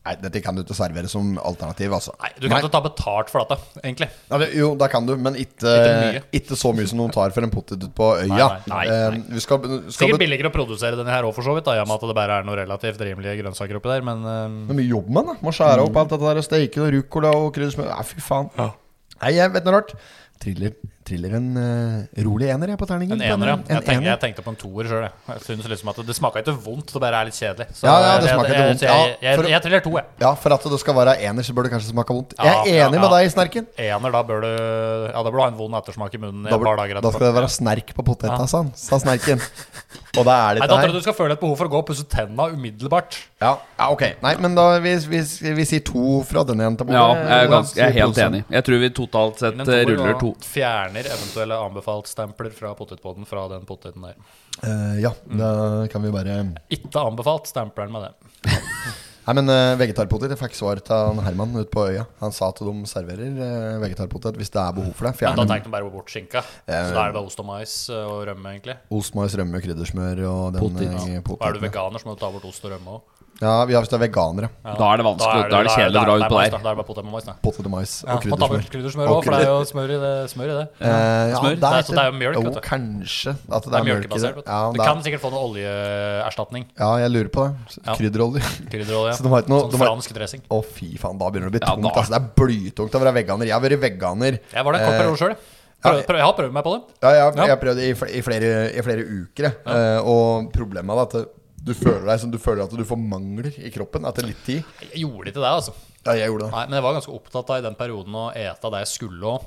Nei, dette kan du ikke servere som alternativ, altså.
Nei, du kan ikke ta betalt for dette, egentlig.
Nei, det- jo, det kan du, men ikke,
Ikke mye.
ikke så mye som noen tar for en potet ute på øya.
nei, nei,
Eh,
nei.
Du skal, du skal
Sikkert
bet-
billigere å produsere denne her òg, for så vidt, da, i og med at det bare er noen relativt rimelige grønnsaker oppi der, men eh,
Det er mye jobb med den. da. Må skjære
Mm.
opp alt dette der, og steke og ruccola og kryddersmør. Nei, fy faen. Nei, jeg vet noe rart. Triller, triller en eh, rolig ener jeg på terningen.
en ener, ja.
En
Jeg tenkte,
ener.
jeg tenkte på en toer sjøl, jeg. Jeg synes liksom at det smaka ikke vondt, det bare er litt kjedelig. Så eh,
Ja, ja, det
jeg-
smaker ikke
jeg-
vondt.
så Jeg,
Ja,
jeg,
for-
jeg, jeg triller to, jeg.
Ja, for at det skal være ener, så bør det kanskje smake vondt. Jeg
Ja,
er
ja,
enig med
ja.
deg, Snerken.
Ener, da bør du Ja, da bør du ha en vond ettersmak i munnen i
Da,
et par
bør-
dager
da
etterpå.
skal det være snerk på poteta, sa han. Sa snerken. Og da er
Nei,
dette
da
her.
tror jeg du skal føle et behov for å gå og pusse tenna umiddelbart.
Ja, ja, ok. Nei, men da vi, vi, vi sier to fra denne jenta.
Ja, jeg er,
eh,
ganske, jeg er helt enig. Jeg tror vi totalt sett
Innen
eh,
toer,
ruller
og
to.
Fjerner eventuelle anbefalt-stempler fra potetpodden fra den poteten der.
Eh, ja, da kan vi bare Nei,
Ikke anbefalt, stempler den med det.
men eh, vegetarpotet. Jeg fikk svar til han Herman ute på øya. Han sa at de serverer eh, vegetarpotet hvis det er behov for det.
Men da
Fjerne
tenker den bare bort skinka. Så da er det bare ost og mais eh, og rømme, egentlig.
ost, mais, rømme, kryddersmør og den
Potet.
eh,
Og er du
poteten.
veganer, så må du ta bort ost og rømme òg.
Ja, vi har hvis det er veganere.
Da er det vanskelig. Da er det kjedelig å dra ut
Da
på der.
er det bare potet med mais, da.
Potet og mais
Ja,
og
må ta bort
kryddersmør.
kryddersmør
Og
òg, for det er jo smør i det. Smør i det.
Eh, ja,
Smør.
Det er- så det er jo
ikke-
mjølk, vet
Jo,
du.
kanskje at det,
Det er
er mjølk i det.
mjølkebasert. vet
Ja,
Du Du
det er-
kan sikkert få noe oljeerstatning.
ja, jeg lurer på det.
Ja.
Krydderolje.
Krydderolje.
Så de har ikke noe- de
Sånn
har-
fransk dressing.
Å, fy faen, da begynner det å bli
Ja,
tungt.
da.
Altså, det er blytungt å være veganer. Jeg har vært veganer
Jeg var der en kort
eh,
periode sjøl. Jeg har prøvd meg på det.
Ja, jeg, har-
Ja.
jeg har prøvd det i, fl i, flere, i flere uker. jeg. Eh, og problemet er at det- du føler deg som du føler at du får mangler i kroppen etter litt tid.
Jeg gjorde ikke det, altså.
Ja, jeg gjorde det.
Nei, men jeg var ganske opptatt av i den perioden å ete det jeg skulle òg.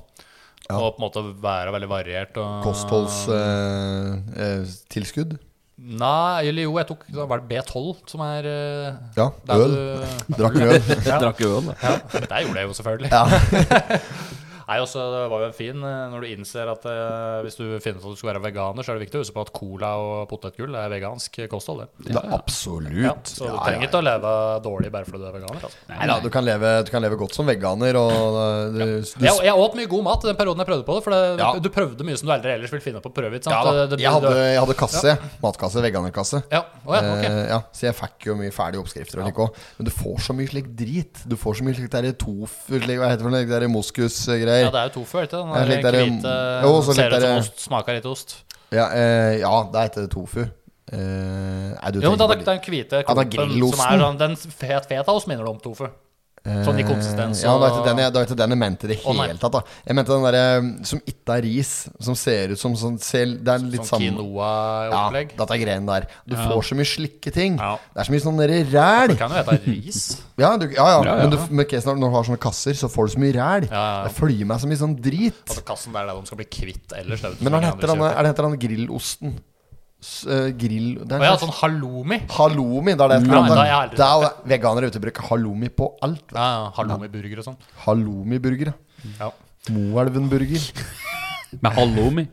Og på en måte være veldig variert. Og...
eh, Kostholdstilskudd.
Nei, eller jo, jeg tok da var det B12, som er eh,
ja,
der
øl.
du- (laughs)
Drakk øl.
Jeg drakk øl. da.
Ja, det gjorde jeg jo selvfølgelig. (laughs) Nei, også, Det var jo en fin eh, når du innser at eh, hvis du finner ut at du skal være veganer, så er det viktig å huske på at cola og potetgull er vegansk kosthold. det.
Det er absolutt.
Ja, så du trenger ikke å leve dårlig bare fordi du er veganer. altså.
Nei, da, du, kan leve, du kan leve godt som veganer, og eh, du, du
Jeg, jeg åt mye god mat i den perioden jeg prøvde på det. For det,
Ja.
du prøvde mye som du aldri ellers vil finne på å prøve. Ikke sant?
Ja da.
Det- det-
Jeg hadde,
det-
jeg hadde kasse. Matkasse. Veganerkasse.
ja. Å, ja, ok.
Eh, ja, så jeg fikk jo mye ferdige oppskrifter. og slik også. Men du får så mye slik drit. Du får så mye slik der tofu slik, Hva heter det for noe? slik der
ja,
moskusgreier.
det er jo tofu, ikke sant?
Ja,
Den
litt
der
der- eh,
hvite
Jo, så litt
Ser ut som
der-
ost, smaker litt ost.
Ja, eh, ja, det heter tofu. Eh, nei, du
Jo, men det
tenker på
er den hvite
Ja, det er
klumpen som
grillosten.
er sånn Den fet fetaost minner det om tofu.
litt-
Sånn i konsistens
Eh, Ja, det var
og-
ikke den jeg, det var ikke den jeg mente i det
Å, nei.
hele tatt. da Jeg mente den derre eh, som ikke er ris, som ser ut som sånn ser, Det er litt
Sånn
samme ja,
quinoa-opplegg.
dette er greien der. Du får så mye slike ting.
Ja.
Det er så mye sånn derre ræl.
Du kan jo hete ris.
Ja, du, ja, ja.
Ja, ja.
Men du, med casen, når du har sånne kasser, så får du så mye ræl.
ja, ja.
Det følger meg så mye sånn drit.
Altså Kassen der er det de skal bli kvitt ellers. det er jo ikke så
Men han
mange andre
heter han,
kjøper.
er det heter han grillosten? S, eh, grill Det er
Å ja,
en slags
sånn halloumi.
halloumi. Det er det jeg
Ja,
skal
da er jeg aldri-
Det er jo veganere ute og bruker halloumi på alt.
Ja, ja, Halloumiburger og sånn.
Halloumiburger.
Ja.
Moelvenburger.
Med halloumi.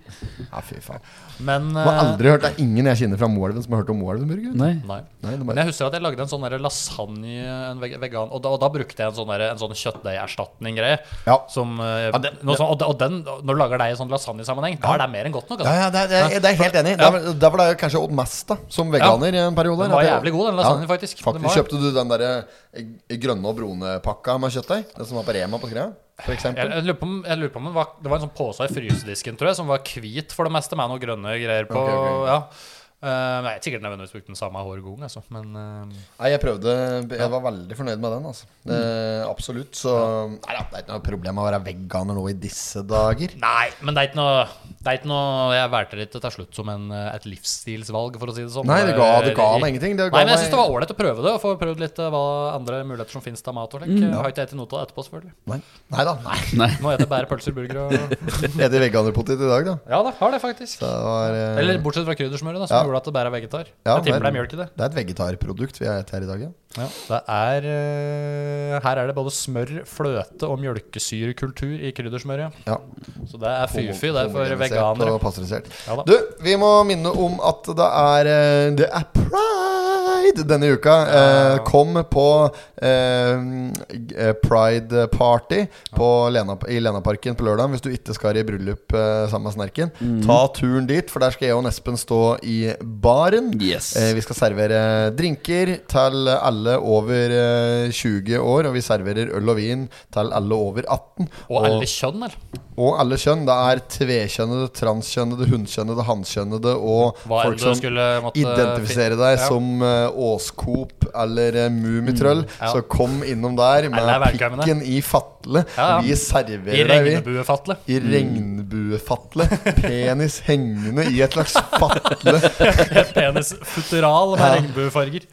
Ja, fy faen.
Men
Jeg har
eh,
aldri hørt Det er ingen jeg kjenner fra Moelven som har hørt om Moelvenburger.
Nei.
Nei.
Nei, det
Men
bare,
jeg husker at jeg lagde en sånn der lasagne en veg- vegan, og, da, og da brukte jeg en sånn, der- en sånn kjøttdeigerstatning-greie.
ja.
Som, eh,
Ja, det-
noe sånn- og, og den, når du lager deg i sånn lasagnesammenheng, da er det mer enn godt nok.
Ja,
Altså.
ja, det er, det er, det er helt enig. Der var- Der var det jo kanskje opp mest, da. Som veganer i en periode.
Den var
At jeg-
jævlig god, den lasagnen, faktisk. Den var-
Kjøpte du den derre eh, grønne og brune pakka med kjøttdeig? Den som var på Rema på Skreia? For
Jeg,
eksempel.
jeg lurer på om, jeg lurer på om den var, det var en sånn pose i frysedisken tror jeg, som var hvit for det meste, med noen grønne greier på.
Ok, ok.
Ja. Eh, nei, jeg er sikkert nødvendigvis brukt den samme hver gang, altså. Men eh,
Nei, jeg prøvde Jeg var veldig fornøyd med den, altså. Eh, absolutt. Så Nei da, det er ikke noe problem å være veganer nå i disse dager.
Nei, men det er ikke noe, det er ikke noe Jeg valgte det ikke til slutt som en, eh, et livsstilsvalg, for å si det sånn.
Nei, det ga, det ga meg ingenting. Det ga
Nei, men jeg
meg-
syns det var ålreit å prøve det, og få prøvd litt eh, hva andre muligheter som finnes til mat. og slik.
Mm.
Jeg Har ikke jeg til noe av det etterpå, selvfølgelig.
Nei, nei da. Nei.
Nå spiser jeg bare pølser, burger og
Jeg Spiser veganerpotet i dag, da.
Ja da, har det faktisk.
Det, var, eh,
Eller bortsett fra kryddersmøret, da, som
Ja.
gjorde at det bare er vegetar.
Ja,
jeg tipper det
men-
er mjølk i det.
det er et vegetarprodukt vi har et her i dag, ja.
Ja, det er, eh, her er det både smør, fløte og mjølkesyrekultur i kryddersmøret.
ja.
Så det er fy-fy, det er for
Homogenisert
veganere.
Og pasteurisert.
Ja da.
du, vi må minne om at det er eh, Det er pride denne uka. Eh, kom på eh, g- eh, pride party på Lena, i Lenaparken på lørdag hvis du ikke skal i bryllup eh, sammen med Snerken.
Mhm.
Ta turen dit, for der skal jeg og Espen stå i baren.
Yes.
Eh, vi skal servere drinker til alle over eh, 20 år, og vi serverer øl og vin til alle over 18.
Og alle kjønn, eller?
Og alle kjønn. Det er tvekjønnede, transkjønnede, hunnkjønnede, hanskjønnede og
Hva enn
folk
du
som
skulle måtte
identifiserer deg
Ja.
som eh, Åskop eller uh, Mummitroll.
Mm, ja.
Så kom innom der
Eller
med
velkommen,
pikken i fatle.
Ja, ja.
Vi
I Mm.
serverer deg, vi.
regnbuefatle.
I regnbuefatle.
(laughs)
Penis hengende i et slags fatle.
Penisfutteral med regnbuefarger.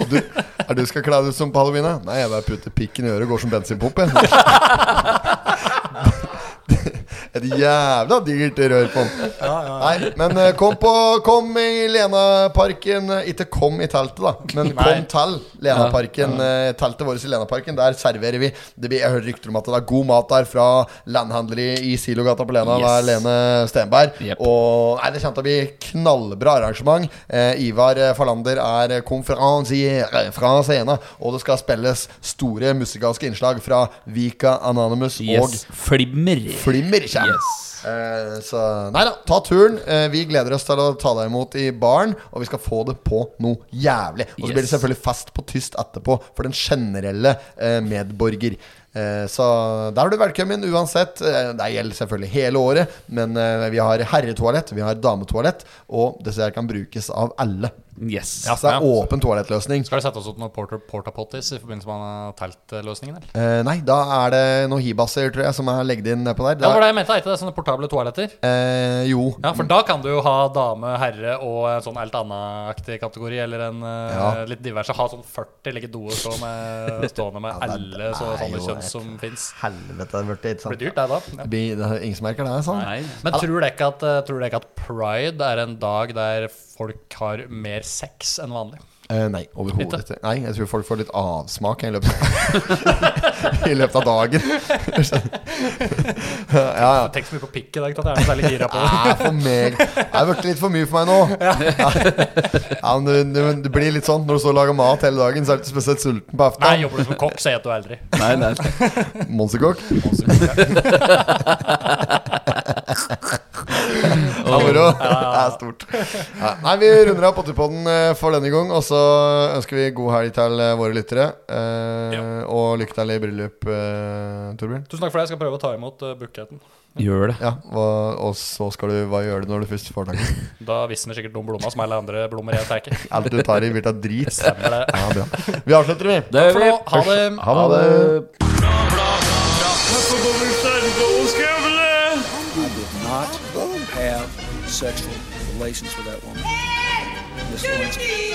Og Du, er du skal kle deg ut som på halloween? da? Nei, jeg bare putter pikken i øret og går som bensinpump. jeg. (laughs) Et jævla digert rør på den. Nei, men eh, kom, på, kom i Lenaparken eh, Ikke kom i teltet, da, men
Nei.
kom til Lenaparken. eh, Teltet vårt i Lenaparken, der serverer vi det blir, Jeg hører rykter om at det er god mat der fra landhandler i, i Silogata på Lena. Der
Yes.
Lene eh, Stenberg.
Jep.
Og nei, det kommer til å bli knallbra arrangement. Eh, Ivar eh, Falander er konferansier eh, fra scenen, og det skal spilles store musikalske innslag fra Vika Anonymous og
Yes. Flimmer.
Flimmer kommer.
Yes.
Eh, så nei da, ta turen. Eh, vi gleder oss til å ta deg imot i baren, og vi skal få det på noe jævlig. Og så blir det
Yes.
selvfølgelig fest på tyst etterpå for den generelle eh, medborger. Eh, så der er du velkommen uansett. Eh, det gjelder selvfølgelig hele året, men eh, vi har herretoalett, vi har dametoalett, og disse her kan brukes av alle.
Yes.
Så det
ja.
er åpen toalettløsning.
Skal det sette oss opp noen porta, porta potties i forbindelse med teltløsningen? eller?
Eh, nei, da er det noen hibasser, tror jeg, som er legget inn nedpå der.
Ja,
Det
var
er,
det jeg mente, er ikke det sånne portable toaletter?
eh, jo.
Ja, for da kan du jo ha dame, herre og en sånn alt annet-aktig kategori, eller en eh,
Ja.
litt diverse. Ha sånn 40 like doer stå med,
(laughs)
stående med
Ja, det-
alle så,
det er
sånne
jo
kjønn
et-
som fins.
Helvete, det blir
Det blir
dyrt.
dyrt, det da.
Det
Ja.
blir- det er Ingen som merker det, sant?
Nei.
Men tror dere ikke, at, eh, tror dere ikke at pride er en dag der folk har mer sex enn vanlig?
Eh, nei, overhodet ikke. Nei, jeg tror folk får litt avsmak i løpet av, i løpet av (laughs) dagen. ja, ja.
Tenk så mye på pikk i dag, ikke at jeg er noe særlig gira på det.
Nei, for meg. Det er blitt litt for mye for meg nå. Ja. men det, det, men det blir litt sånn når du står og lager mat hele dagen, så er du ikke spesielt sulten på
(laughs) Nei,
aftenen.
jobber du som kokk, så spiser du aldri.
Nei,
(laughs)
nei.
Monsterkokk. (laughs) Det er moro. Det er stort. Ja, Nei, vi runder av Potterpodden eh, for denne gang, og så så ønsker vi god helg til eh, våre lyttere. eh, Og lykke til i bryllup, eh, Torbjørn.
Tusen takk for det. Jeg skal prøve å ta imot uh, bukketten.
Gjør det.
Ja, hva, og så skal du Hva gjør du når du først får tak i den?
Da visner sikkert noen blommer som alle andre blommer jeg
(laughs)
tar. ikke.
Alt du tar i, blir til drit.
Stemmer det.
Ja, bra. Vi avslutter, vi.
Det
For nå, ha det.
Ha det.
I did not have sexual relations with that woman. Miss Lewinsky.